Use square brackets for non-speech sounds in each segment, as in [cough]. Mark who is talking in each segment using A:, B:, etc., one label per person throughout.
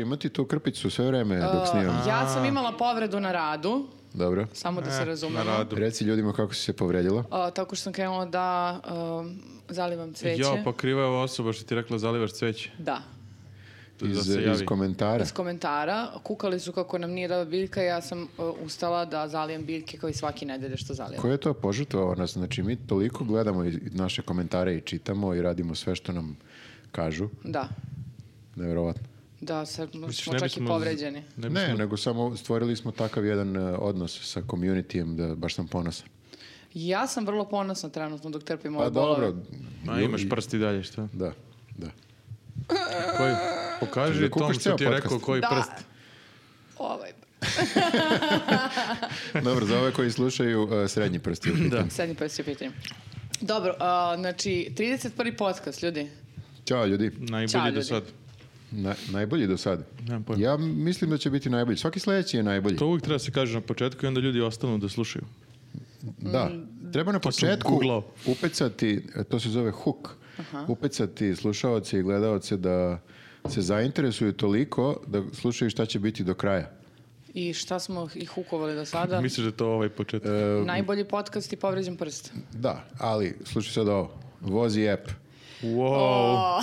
A: imati tu krpicu sve vreme E, dok snimamo?
B: Ja sam imala povredu na radu,
A: Dobro.
B: samo da se razumemo.
C: Na radu.
A: Reci ljudima kako si se povredila.
B: A, tako što sam krenula da um, zalivam cveće.
C: Jo, pa kriva je ova osoba što ti je rekla zalivaš cveće.
B: Da,
C: Da
A: Iz,
C: se
A: iz
C: javi.
A: komentara.
B: iz komentara. Kukali su kako nam nije dala biljka, ja sam uh, ustala da zalijem biljke kao i svaki nedelje što zalijem.
A: Ko je to požrtvovao nas? Znači, mi toliko gledamo i- i naše komentare i čitamo i radimo sve što nam kažu.
B: Da,
A: Nevjerovatno.
B: da, sad
C: Misliš,
B: smo čak i
C: bismo-
B: povređeni.
C: Ne,
A: Ne,
C: bismo-
A: nego samo stvorili smo takav jedan e, odnos sa communityjem da baš sam ponosan.
B: Ja sam vrlo ponosna trenutno dok trpim
A: Pa
B: ove bolove.
A: dobro.
C: Ma imaš pa- prst i dalje, šta?
A: Da, da.
C: Koji?
A: Češ
C: Pokaži
A: da
C: da Tom
A: kupiš
C: što
A: ceo
C: ti je
A: podcast?
C: rekao koji
B: Da.
C: prst.
B: Ovaj,
A: Dobro, za ove koji slušaju e, srednji
C: [laughs]
A: prsti. da.
B: sedmi prst je pitanje. Dobro, uh, znači, 31. podcast, ljudi.
A: Ćao ljudi.
B: Ćao,
C: Najbolji
B: ljudi.
C: do sad.
A: Na- najbolji do sada.
C: Nemam pojma.
A: Ja mislim da će biti najbolji. Svaki sledeći je najbolji.
C: To uvijek treba se kaže na početku i onda ljudi ostanu da slušaju.
B: Mm.
A: Da. Treba na
C: sam
A: početku
C: googlao.
A: upecati, e, to se zove hook, upecati slušaoce i gledaoce da se zainteresuju toliko da slušaju šta će biti do kraja.
B: I šta smo ih hukovali do sada?
C: Misliš da je to ovaj početak?
A: E,
B: Najbolji podcast i povređen prst.
A: Da, ali slušaj sad ovo. Vozi app.
C: Wow.
B: [laughs]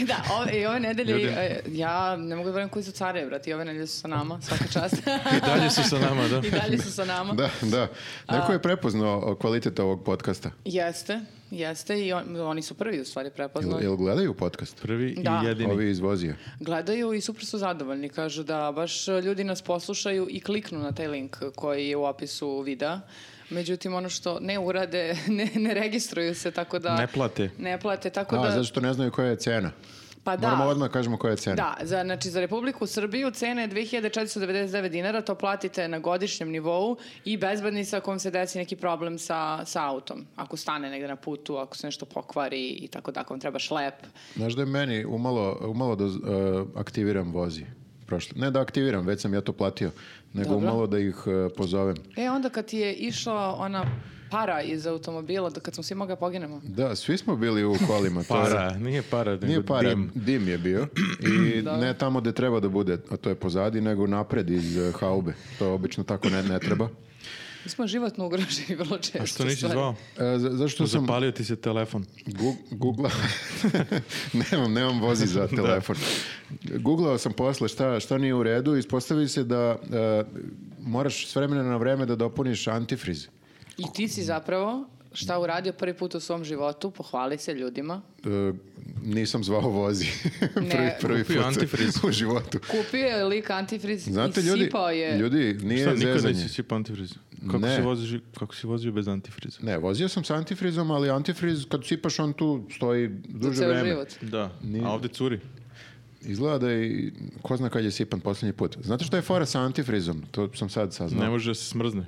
B: E, da, ove, i ove nedelje,
C: Ljudi.
B: e, ja ne mogu da verujem koji su care, brati, ove nedelje su sa nama, svaka čast.
C: I dalje su sa nama, da.
B: I dalje su sa nama.
A: Da, da. Neko je prepoznao kvalitet ovog podcasta.
B: Jeste, jeste i on- oni su prvi u stvari
A: Jel,
B: prepoznali.
A: jel gledaju podcast?
C: Prvi
B: Da.
C: i jedini.
A: Ovi iz Vozija.
B: Gledaju i super su zadovoljni, kažu da baš e, ljudi nas poslušaju i kliknu na taj link koji je u opisu videa. Međutim, ono što ne urade, [laughs] ne, ne registruju se, tako da...
C: Ne plate.
B: Ne plate, tako
A: A,
B: da...
A: zato što ne znaju koja je cena.
B: Pa da.
A: Moramo odmah kažemo koja je cena.
B: Da, za, znači za Republiku Srbiju cena je 2499 dinara, to platite na godišnjem nivou i bezbedni sa kom se desi neki problem sa, sa autom. Ako stane negde na putu, ako se nešto pokvari i tako da, ako vam treba šlep.
A: Znaš da je meni umalo, umalo da z- e, aktiviram vozi. Prošle. Ne da aktiviram, već sam ja to platio, nego
B: Dobro.
A: umalo da ih e, pozovem.
B: E, onda kad ti je išla ona para iz automobila, da kad smo svi mogli da poginemo.
A: Da, svi smo bili u kolima. to je-
C: Para, nije para, nego
A: Nije para, dim.
C: dim.
A: je bio. I ne tamo gde treba da bude, a to je pozadi, nego napred iz e, haube. To obično tako ne, ne treba.
B: Mi smo životno ugroženi vrlo često.
C: A što nisi
B: stvari.
C: zvao?
A: E, za- zašto sam
C: Zapalio ti se telefon.
A: gu- googlao... [laughs] nemam, nemam vozi
C: [laughs]
A: za telefon. Googlao sam posle šta, šta nije u redu i ispostavi se da e, moraš s vremena na vreme da dopuniš antifriz. E,
B: I ti si zapravo šta uradio prvi put u svom životu, pohvali se ljudima.
A: E, nisam zvao vozi. [laughs] prvi, prvi
C: Kupio
A: put
C: antifriz.
A: u životu.
B: Kupio je lik antifriz
A: Znate
B: i
A: ljudi,
B: sipao je.
A: ljudi nije
C: Šta, nikad
A: zezanje.
C: nisi sipao antifriz? Kako,
A: Ne.
C: si voziš, kako si vozio bez antifriza?
A: Ne, vozio sam s antifrizom, ali antifriz kad sipaš on tu stoji duže
B: ceo
A: vreme.
B: život.
C: Da, a ovdje curi.
A: Izgleda da je, i- ko zna kad je sipan posljednji put. Znate što je fora sa antifrizom? To sam sad saznao.
C: Ne može da se smrzne.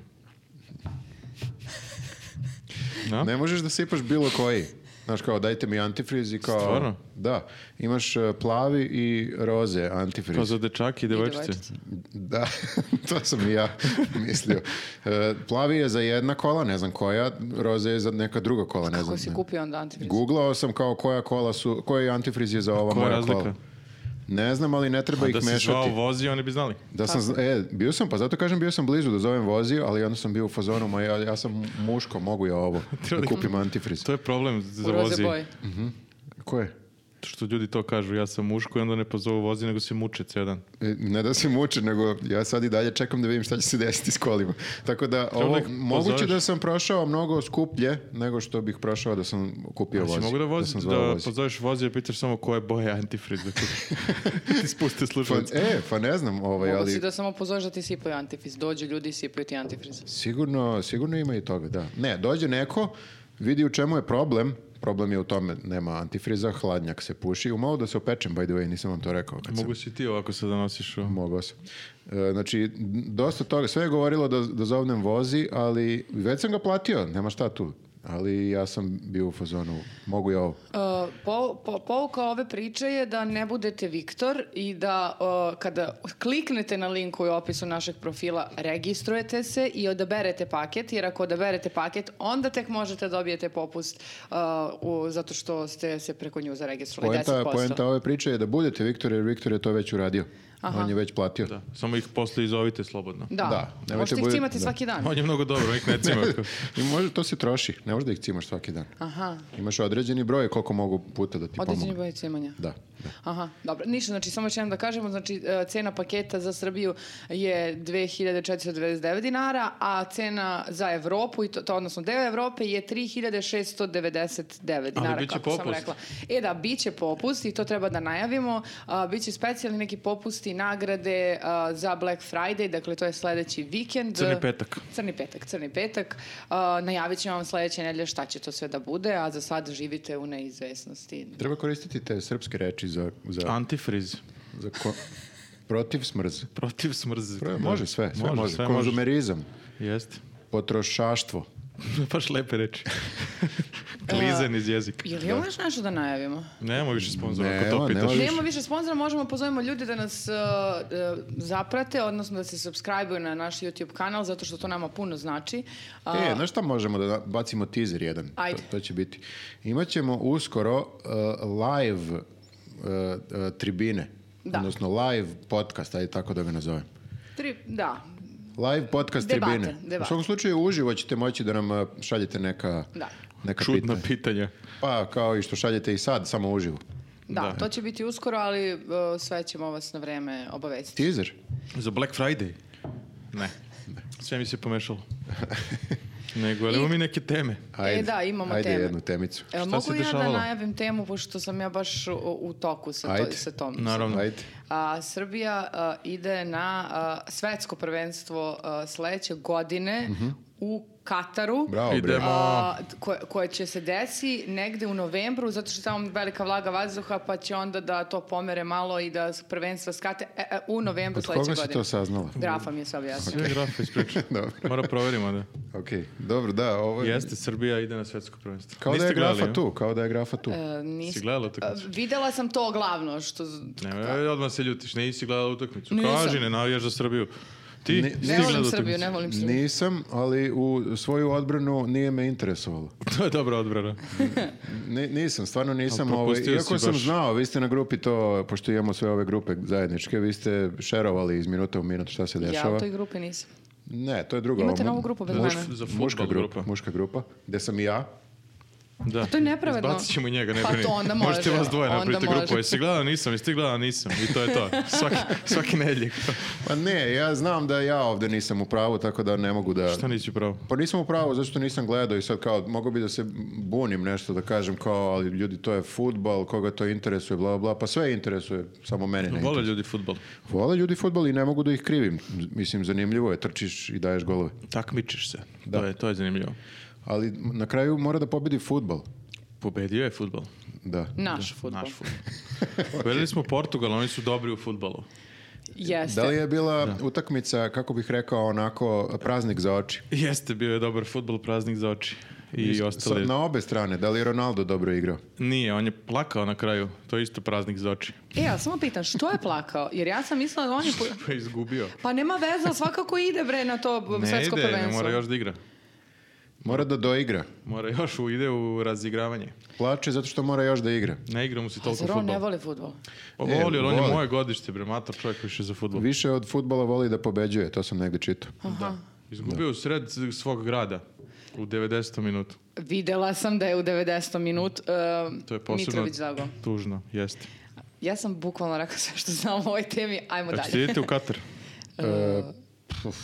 C: Da?
A: Ne možeš da sipaš bilo koji. Znaš kao, dajte mi antifriz i kao...
C: Stvarno?
A: Da. Imaš e, plavi i roze antifriz.
C: Kao za dečake i devojčice.
B: devojčice.
A: Da, [laughs] to sam i ja mislio. E, plavi je za jedna kola, ne znam koja, roze je za neka druga kola, ne znam.
B: Kako si
A: ne.
B: kupio onda antifriz?
A: Googlao sam kao koja kola su, koji antifriz je za ova
C: Koja
A: moja
C: razlika?
A: kola. Ne znam, ali ne treba ih
C: Da si zvao
A: mešati.
C: vozi, oni bi znali.
A: Da sam, zna- e, bio sam, pa zato kažem bio sam blizu da zovem vozi, ali onda sam bio u fazonu, ma ja, ja sam muško, mogu ja
C: [laughs]
A: ovo, da kupim antifriz.
C: To je problem
B: U
C: za
B: roze
C: vozi.
B: boje.
A: Ko je?
C: Što ljudi to kažu, ja sam muško i onda ne pozovu vozi, nego se muče ceo dan.
A: E, Ne da se muče, nego ja sad i dalje čekam da vidim šta će se desiti s kolima. Tako da, ovo,
C: da ih
A: moguće
C: pozoveš.
A: da sam prošao mnogo skuplje nego što bih prošao da sam kupio vozi.
C: Si mogu da vozi,
A: sam
C: da,
A: zvao vozi.
C: pozoveš vozi i pitaš samo koje boje
A: [laughs]
C: antifriz da kupiš. Dakle, Ti spuste
A: Pa,
C: slušalice.
A: e, pa ne znam, ovaj,
B: Mogu si
A: ali
B: da samo pozoveš da ti sipaju antifriz. Dođu ljudi i sipaju ti antifriz.
A: sigurno, sigurno ima i toga, da. Ne, dođe neko, vidi u čemu je problem, problem je u tome, nema antifriza, hladnjak se puši, umalo da se opečem, by the way, nisam vam to rekao. Kad sam-
C: Mogu si ti ovako sad da nosiš ovo.
A: Mogao sam. E, znači, dosta toga, sve je govorilo da, da zovnem vozi, ali već sam ga platio, nema šta tu. Ali ja sam bio u fazonu, mogu ja ovo.
B: Uh, po, po- pouka ove priče je da ne budete Viktor i da uh, kada kliknete na link u opisu našeg profila, registrujete se i odaberete paket, jer ako odaberete paket, onda tek možete dobijete popust uh, u- zato što ste se preko nju zaregistrovali
A: Poenta,
B: 10%.
A: poenta ove priče je da budete Viktor, jer Viktor je to već uradio.
B: Aha.
A: On je već platio.
C: Da. Samo ih posle izovite slobodno.
B: Da.
A: Da, nemojte
B: Možete ih
A: bude-
B: cimati
A: da.
B: svaki dan.
C: On je mnogo dobro, nek ne
A: [laughs]
C: cima.
A: I može, to se troši. Ne možeš da ih cimaš svaki dan.
B: Aha.
A: Imaš određeni broj koliko mogu puta da ti
B: Određeni
A: pomogu.
B: broj cimanja.
A: Da.
B: Aha, dobro. Ništa, znači samo još jednom da kažemo, znači e, cena paketa za Srbiju je 2499 dinara, a cena za Evropu, i to, to odnosno deo Evrope je 3699 dinara,
C: bit će
B: kako sam
C: popust.
B: rekla. E da, bit će popust i to treba da najavimo. A, bit će specijalni neki popusti, nagrade a, za Black Friday, dakle to je sledeći vikend.
C: Crni petak.
B: Crni petak, crni petak. A, najavit ćemo vam sledeće nedelje šta će to sve da bude, a za sad živite u neizvesnosti.
A: Treba koristiti te srpske reči za, za,
C: Antifriz.
A: za ko- protiv smrz.
C: Protiv smrzi.
A: Pre- može sve, sve može. Konzumerizam,
C: Jeste. [laughs]
A: potrošaštvo.
C: Baš lepe
B: [laughs]
C: reči. Klizen iz jezika.
B: Je li imamo još nešto da najavimo?
C: Nema više sponzora,
A: Nema,
C: ako to
A: nema
C: pitaš.
A: više.
B: Nema više sponzora, možemo pozovemo ljudi da nas uh, uh, zaprate, odnosno da se subscribe na naš YouTube kanal, zato što to nama puno znači. Uh,
A: E, znaš šta možemo da da- bacimo teaser jedan? To-
B: Ajde.
A: To, će biti. Imaćemo uskoro uh, live uh, uh, tribine.
B: Da.
A: Odnosno live podcast, ajde tako da ga nazovem.
B: tri, da,
A: Live podcast
B: Debate,
A: tribine.
B: debate.
A: U svakom slučaju uživo ćete moći da nam uh, šaljete neka,
B: Da.
A: neka
C: Čudna
A: pitanja.
C: pitanja.
A: Pa kao i što šaljete i sad, samo uživo.
B: da,
C: Da.
B: to će biti uskoro, ali uh, sve ćemo vas na vreme obavestiti.
A: Teaser?
C: Za Black Friday? Ne. Sve mi se
A: [laughs]
C: pomešalo. Nego, ali imamo mi neke teme.
B: E, da, imamo
A: ajde
B: teme.
A: jednu temicu.
B: E,
C: šta
B: mogu
C: se
B: ja da
C: dešavalo?
B: najavim temu, pošto sam ja baš u, u toku sa, to,
A: Ajde.
B: sa tom.
C: Naravno.
A: Ajde.
B: A, Srbija a, ide na a, svetsko prvenstvo a, sledeće godine u Kataru.
A: Bravo, bre.
C: Idemo.
B: a, koje, koje će se desi negde u novembru, zato što je tamo velika vlaga vazduha, pa će onda da to pomere malo i da prvenstva skate e, e, u novembru
A: Od
B: sledeće
A: koga
B: godine.
A: si to saznala?
B: Grafa mi je sve objasnio.
C: Sve grafa ispriča.
A: [laughs] Dobro.
C: Mora proverimo, da.
A: Ok, dobro, da, ovo je...
C: Jeste, Srbija ide na svetsko prvenstvo.
A: Kao da
C: Niste
A: je grafa
C: gledali,
A: tu, kao da je grafa tu.
B: E, nis-
C: Si gledala utakmicu?
B: E, videla sam to glavno, što...
C: Ne, ne, odmah se ljutiš, nisi gledala utakmicu.
B: Nisam.
C: Kaži, ne navijaš za Srbiju. Ti,
A: Ne-
C: si
B: Ne
A: Stigla
B: volim
C: gledala
B: Srbiju,
C: utakmicu?
B: ne volim Srbiju.
A: Nisam, ali u svoju odbranu nije me interesovalo.
C: [laughs] To je dobra odbrana.
A: Ni- nisam, stvarno nisam.
C: Ali
A: Ovaj,
C: propustio
A: iako
C: si
A: sam
C: baš.
A: znao, vi ste na grupi to, pošto imamo sve ove grupe zajedničke, vi ste šerovali iz minuta u minut šta se
B: Ja
A: dešava.
B: u toj grupi nisam.
A: Ne, to je druga.
B: Imate
A: ovo-
B: novu grupu bez
C: Muš,
B: mene.
C: za
A: Muška
C: fudbal
A: grupa,
C: grupa.
A: muška grupa, gde sam i ja.
C: Da.
B: To je nepravedno.
C: Izbacit ćemo i njega, ne
B: Pa to
C: brini.
B: onda
C: Možete
B: može,
C: vas dvoje
B: onda
C: napraviti
B: može.
C: grupu. Jesi gledala, nisam, jesi ti gledala, nisam. I to je
B: [laughs]
C: to. Svaki, svaki nedeljik.
A: Pa ne, ja znam da ja ovde nisam u pravu, tako da ne mogu da...
C: Šta nisi pravo?
A: Pa nisam u pravu, zašto nisam gledao i sad kao, mogu bi da se bunim nešto, da kažem kao, ali ljudi, to je futbal, koga to interesuje, bla, bla, bla, pa sve interesuje, samo mene ne interesuje.
C: Vole ljudi futbol.
A: Vole ljudi futbol i ne mogu da ih krivim. Mislim, zanimljivo je, trčiš i daješ golove.
C: Takmičiš se. To, je, to je zanimljivo.
A: Ali na kraju mora da pobedi futbol.
C: Pobedio je futbol.
A: Da.
B: Naš futbol.
C: Naš
B: [laughs]
C: futbol. Pobedili smo Portugal, oni su dobri u futbolu.
B: Jeste.
A: Da li je bila utakmica, kako bih rekao, onako praznik za oči?
C: Jeste, bio je dobar futbol, praznik za oči. I
A: Sa-
C: ostali...
A: na obe strane, da li je Ronaldo dobro igrao?
C: Nije, on je plakao na kraju. To je isto praznik za oči.
B: E, ja samo pitam, što je plakao? Jer ja sam mislila da on je... po-
C: Pa je izgubio.
B: Pa nema veze, ali svakako ide bre na to b-
C: Ne
B: svetsko
C: ide, ne
B: prvenstvo.
C: mora još da igra.
A: Mora da doigra.
C: Mora još u, ide u razigravanje.
A: Plače zato što mora još da igra.
C: Ne igra mu se toliko
B: Zar on ne
C: futbol.
B: voli futbol?
C: Pa
A: E,
C: voli, ali on
A: voli.
C: je moje godište, bre, mator čovjek više za futbol.
A: Više od futbola voli da pobeđuje, to sam negde čitao.
C: Da. Izgubio u sred svog grada u 90. minutu.
B: Videla sam da je u 90. minut um,
C: Mm. To je posebno
B: Mitrović zago.
C: tužno, jeste.
B: Ja sam bukvalno rekao sve što znam o ovoj temi, ajmo
C: Znači,
B: dalje. Ehm,
C: idete u Katar.
A: E, puf,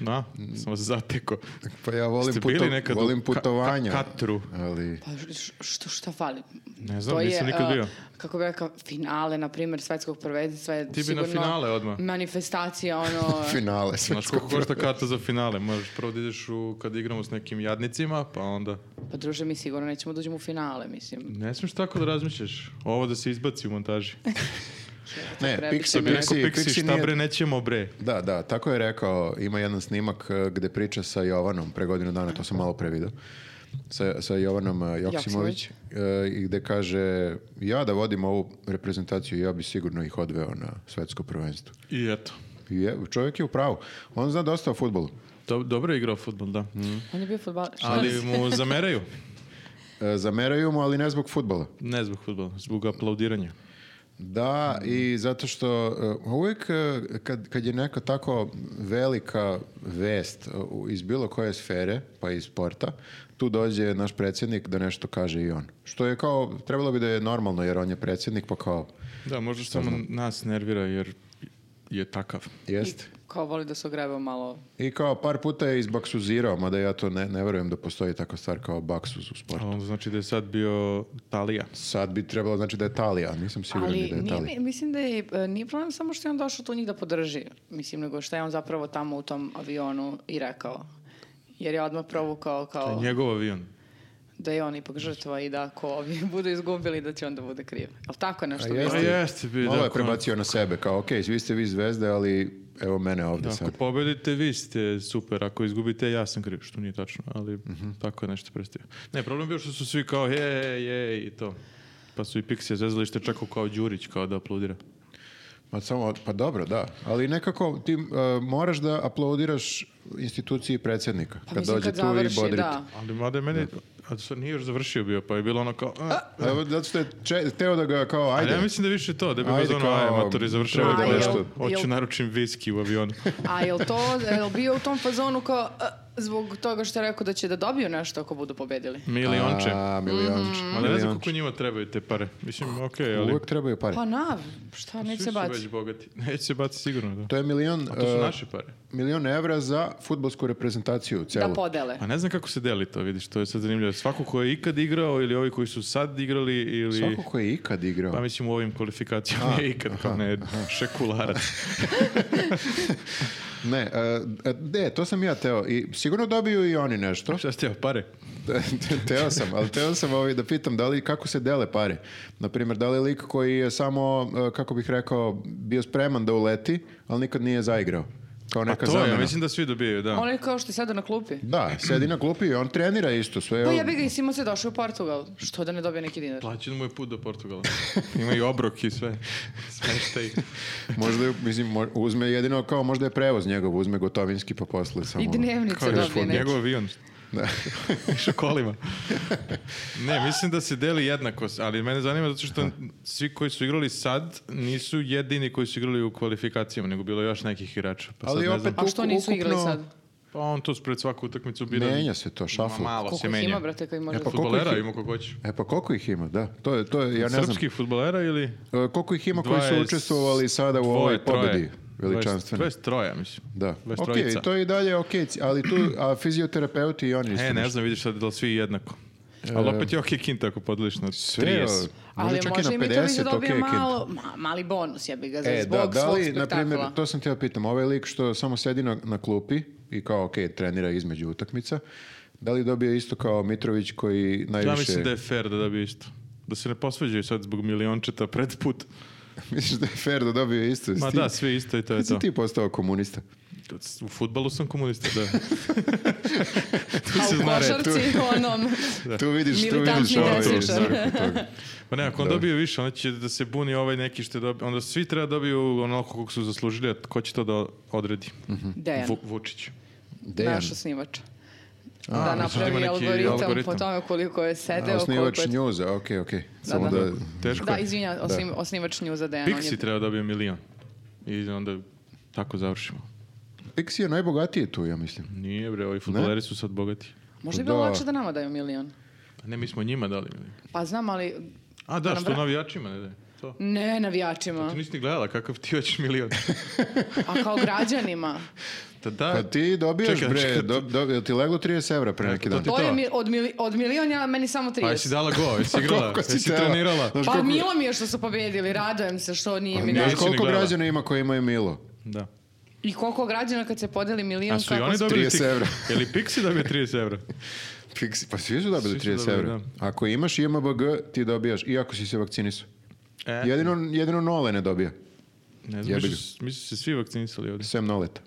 C: Na, sam vas zateko.
A: pa ja volim,
C: Ste bili
A: puto-
C: nekad u
A: volim
C: Ka- Ka-
A: putovanja.
C: Katru?
A: Ali...
B: Pa š- što, šta fali?
C: Ne znam, nisam nikad
B: a,
C: bio.
B: Kako bi rekao, finale, na primjer, svetskog prvenstva je
C: bi na
B: sigurno...
C: finale odmah.
B: Manifestacija, ono...
A: [laughs] Finale.
C: Znaš
A: svetskog
C: koliko košta karta za finale? Možeš prvo da ideš u, kad igramo s nekim jadnicima, pa onda...
B: pa druže, mi sigurno nećemo da uđemo u finale, mislim.
C: Ne smiješ tako da razmišljaš. Ovo da se izbaci u montaži.
A: Ne,
B: Treba
A: Pixi,
B: biti
C: Bi rekao,
A: Pixi,
C: Pixi,
A: Pixi
C: šta
A: nije-
C: bre, nećemo bre.
A: Da, da, tako je rekao, ima jedan snimak e, gde priča sa Jovanom, pre godinu dana, to sam malo pre video, sa, sa Jovanom e, Joksimović,
B: Joksimović.
A: e, i gde kaže, ja da vodim ovu reprezentaciju, ja bi sigurno ih odveo na svetsko prvenstvo.
C: I eto.
A: I Je, čovjek je u pravu. On zna dosta o futbolu.
C: Do- dobro je igrao futbol, da.
B: On je bio futbaler.
C: Ali mu zameraju.
A: E, Eh, zameraju mu, ali ne zbog futbola.
C: Ne zbog futbola, zbog aplaudiranja.
A: Da, i zato što uh, uvijek uh, kad, kad je neka tako velika vest uh, u- iz bilo koje sfere, pa i sporta, tu dođe naš predsjednik da nešto kaže i on. Što je kao, trebalo bi da je normalno jer on je predsjednik, pa kao,
C: Da, možda samo nas nervira jer je takav.
A: jeste.
B: Kao voli da se ogreba malo.
A: I kao par puta je izbaksuzirao, mada ja to ne, ne verujem da postoji takva stvar kao baksuz u
C: A
A: sportu.
C: onda znači da je sad bio Talija.
A: Sad bi trebalo znači da je Talija, nisam siguran ni
B: Ali
A: da je
B: nije,
A: Talija.
B: mi- mislim da je, e, nije problem samo što je on došao tu njih da podrži. Mislim, nego što je on zapravo tamo u tom avionu i rekao. Jer je odmah provukao
C: To je
B: kao
C: znači njegov avion.
B: da je on ipak žrtva i da ako ovi [laughs] budu izgubili da će onda bude kriv. Ali tako je nešto
A: A
B: bilo.
A: jeste.
C: Pa jeste bi.
A: Malo
C: da,
A: je prebacio na sebe, kao ok, svi ste vi zvezde, ali evo mene ovdje
C: Da, ako
A: E sad.
C: pobedite, vi ste super. Ako izgubite, ja sam kriv, što nije tačno. Ali
A: Mhm.
C: tako je nešto prestio. Ne, problem je bio što su svi kao je, je i to. Pa su i Pixija zezali što je čekao kao Đurić, kao da aplaudira.
A: Pa, samo, pa dobro, da. Ali nekako ti e, moraš da aplaudiraš instituciji predsjednika.
B: Pa
A: kad
B: mislim,
A: dođe
B: kad
A: tu
B: završi,
A: i bodri.
B: da.
C: Ali mada je meni... A sad nije još završio bio, pa je bilo ono kao... a,
A: te. Evo, zato što je če- teo da ga kao,
C: Ali
A: ajde.
C: ja mislim da više to, da bi
A: Ajde,
C: bez ono,
A: kao,
C: aj, matori, završava
A: treba
B: da
C: da
B: nešto-
C: Hoću
B: jel-
C: naručim viski u avionu.
B: A je to, jel bio u tom fazonu kao "E, zbog toga što je rekao da će da dobiju nešto ako budu pobedili?
C: Milionče.
A: A, milionče.
C: Ali ne znam
A: milionče.
C: koliko njima trebaju te pare. Mislim, okej, ali...
A: Mhm. Oh, Uvijek trebaju pare.
B: Pa nav, šta,
C: svi
B: neće se
C: su
B: baci.
C: već bogati. [laughs] Neće se baciti sigurno, da.
A: To je milion,
C: A to su
A: e,
C: naše pare.
A: milion evra za futbolsku reprezentaciju celu.
B: Da podele.
C: A Pa ne znam kako se deli to, vidiš, to je sad zanimljivo. Svako ko je ikad igrao ili ovi koji su sad igrali ili...
A: Svako ko je ikad igrao.
C: Pa mislim u ovim kvalifikacijama je ikad, kao ne, šekulara.
A: [laughs] Ne, e, ne, to sam ja teo. I sigurno dobiju i oni nešto.
C: Šta ste, pare?
A: [laughs] teo sam, ali teo sam ovaj da pitam da li, kako se dele pare. Naprimjer, da li lik koji je samo, e, kako bih rekao, bio spreman da uleti, ali nikad nije zaigrao. Kao
C: Pa
A: neka
C: to je,
A: zamena.
C: mislim da svi dobijaju, da.
B: On je kao što je sada na klupi.
A: Da, sedi na klupi i on trenira isto sve.
B: Pa ja bi ga i Simo se došao u Portugal. Što da ne dobije neki dinar?
C: Plaćen mu je put do Portugala. Ima i obrok i sve. [laughs] Smeštaj.
A: Možda, je, mislim, mo- uzme jedino kao možda je prevoz njegov, uzme gotovinski pa posle samo...
B: I dnevnice
C: Kao još
B: dobije neki.
C: njegov
A: [laughs]
C: avion. Šokolima. ne, mislim da se deli jednako, ali mene zanima zato što svi koji su igrali sad nisu jedini koji su igrali u kvalifikacijama, nego bilo je još nekih igrača. Pa sad
A: Ali
C: ne
A: opet
C: znam.
B: A što nisu
A: Ukupno-
B: igrali sad?
C: Pa on to pred svaku utakmicu bira.
A: Menja se to,
C: Ma,
A: šafl.
C: malo se
B: Koliko ih ima,
C: menja.
B: brate, koji može...
A: E, pa ko- Koliko ih
C: Futbolera
A: je?
C: ima kako hoće.
A: E pa koliko ih ima, da. To je, to je, ja ne znam.
C: Srpskih futbolera ili...
A: E, Koliko ih ima koji su
C: 20,
A: učestvovali sada u ovoj
C: dvoje, troje.
A: pobedi veličanstvene?
C: 20 troja, mislim.
A: Da.
C: Dvadeset
A: Ok,
C: trojica.
A: to je i dalje ok, ali tu a fizioterapeuti i oni isto.
C: E, ne
A: nešto.
C: znam, vidiš sad da li svi jednako. Ali opet je okej kinta ako podeliš na
A: E, Sve,
C: 30.
B: Ali
A: čak i
B: može
A: na
B: i Mitrović da
A: 50,
B: dobije
A: ok, kind.
B: malo, ma- mali bonus, ja bi ga za
A: E,
B: zbog
A: da, da
B: svog
A: li, na primjer,
B: spektakla.
A: to sam teo pitam, ovaj lik što samo sedi na, na klupi i kao, ok, trenira između utakmica, da li dobije isto kao Mitrović koji najviše...
C: Ja mislim da je fair da dobije isto. Da se ne posvađaju sad zbog miliončeta pred put.
A: [laughs] Misliš da je fair da dobije isto?
C: Ma
A: Ti-
C: da, svi isto i to je
A: Kad si
C: to.
A: ti postao komunista?
C: U futbalu sam komunista, da. tu
B: A
C: se
B: u
C: zna red.
A: [laughs]
B: košarci ono, onom...
A: Tu vidiš, tu
B: Militantni
A: vidiš ovaj
B: desničar.
A: znak od
B: [laughs]
A: toga.
C: Pa ne, ako on dobije više, onda će da se buni ovaj neki što je dobio. Onda svi treba dobiju onoliko kako su zaslužili, a ko će to da odredi?
A: Mhm.
B: Dejan,
C: Vu- Vučić.
A: Dejan,
B: naš osnivač.
C: A,
B: Da
C: znači ima
B: napravi
C: neki
B: algoritam po
C: algoritam.
B: tome koliko je
A: a,
B: sedeo, koliko
A: osnivač
B: je...
A: njuza, ok, ok. Samo
B: da.
A: da,
C: Teško
B: Da,
C: je.
B: izvinja, osnim, osnivač njuza Dejan. on je-
C: Pixi treba dobije milion. I onda tako završimo.
A: Pixi je najbogatiji tu, ja mislim.
C: Nije bre, ovi futboleri su sad bogati.
B: Možda bi bilo
A: Da.
B: lakše da nama daju milion.
C: A ne, mi smo njima dali milion.
B: Pa znam, ali...
C: A da,
B: nam
C: što
B: vra-
C: navijačima ne daje. To.
B: Ne navijačima,
C: Ti nisi ni gledala kakav ti
A: [laughs]
C: hoćeš milion.
B: a kao građanima.
C: Da, da.
A: Pa ti dobijaš,
C: Čekaj,
A: bre,
C: čekaj.
A: do, do, jel ti leglo 30 evra pre neki dan?
C: ti-
B: To je
C: to.
B: mi, od, mili, od miliona meni samo
C: Pa jesi
B: 30.
C: dala go,
A: [laughs]
C: jesi igrala,
A: Koliko si
C: jesi
A: tela?
C: trenirala.
A: Znaš koliko-
B: Pa
A: Pa
B: milo mi je što su pobedili, radojem se što nije mi
C: ne.
A: Znaš
C: nisi ni
A: koliko
C: gledala.
A: građana ima koji imaju Milo?
C: Da.
B: I koliko građana kad se podeli milion,
C: A su i
B: kako
C: oni
B: se-
C: dobili
A: 30
C: 30 [laughs]
A: evra.
C: Je li Pixi dobio 30 evra?
A: Fiksi- Pa svi su dobili
C: Svi su
A: 30
C: dobili,
A: evra. Ako imaš IMBG, ti dobijaš, iako si se vakcinisao.
C: E,
A: [laughs] Jedino, jedino nole ne dobija,
C: ne znam,
A: jebi ga.
C: mislim, mislim se svi vakcinisali ovdje.
A: sem noleta.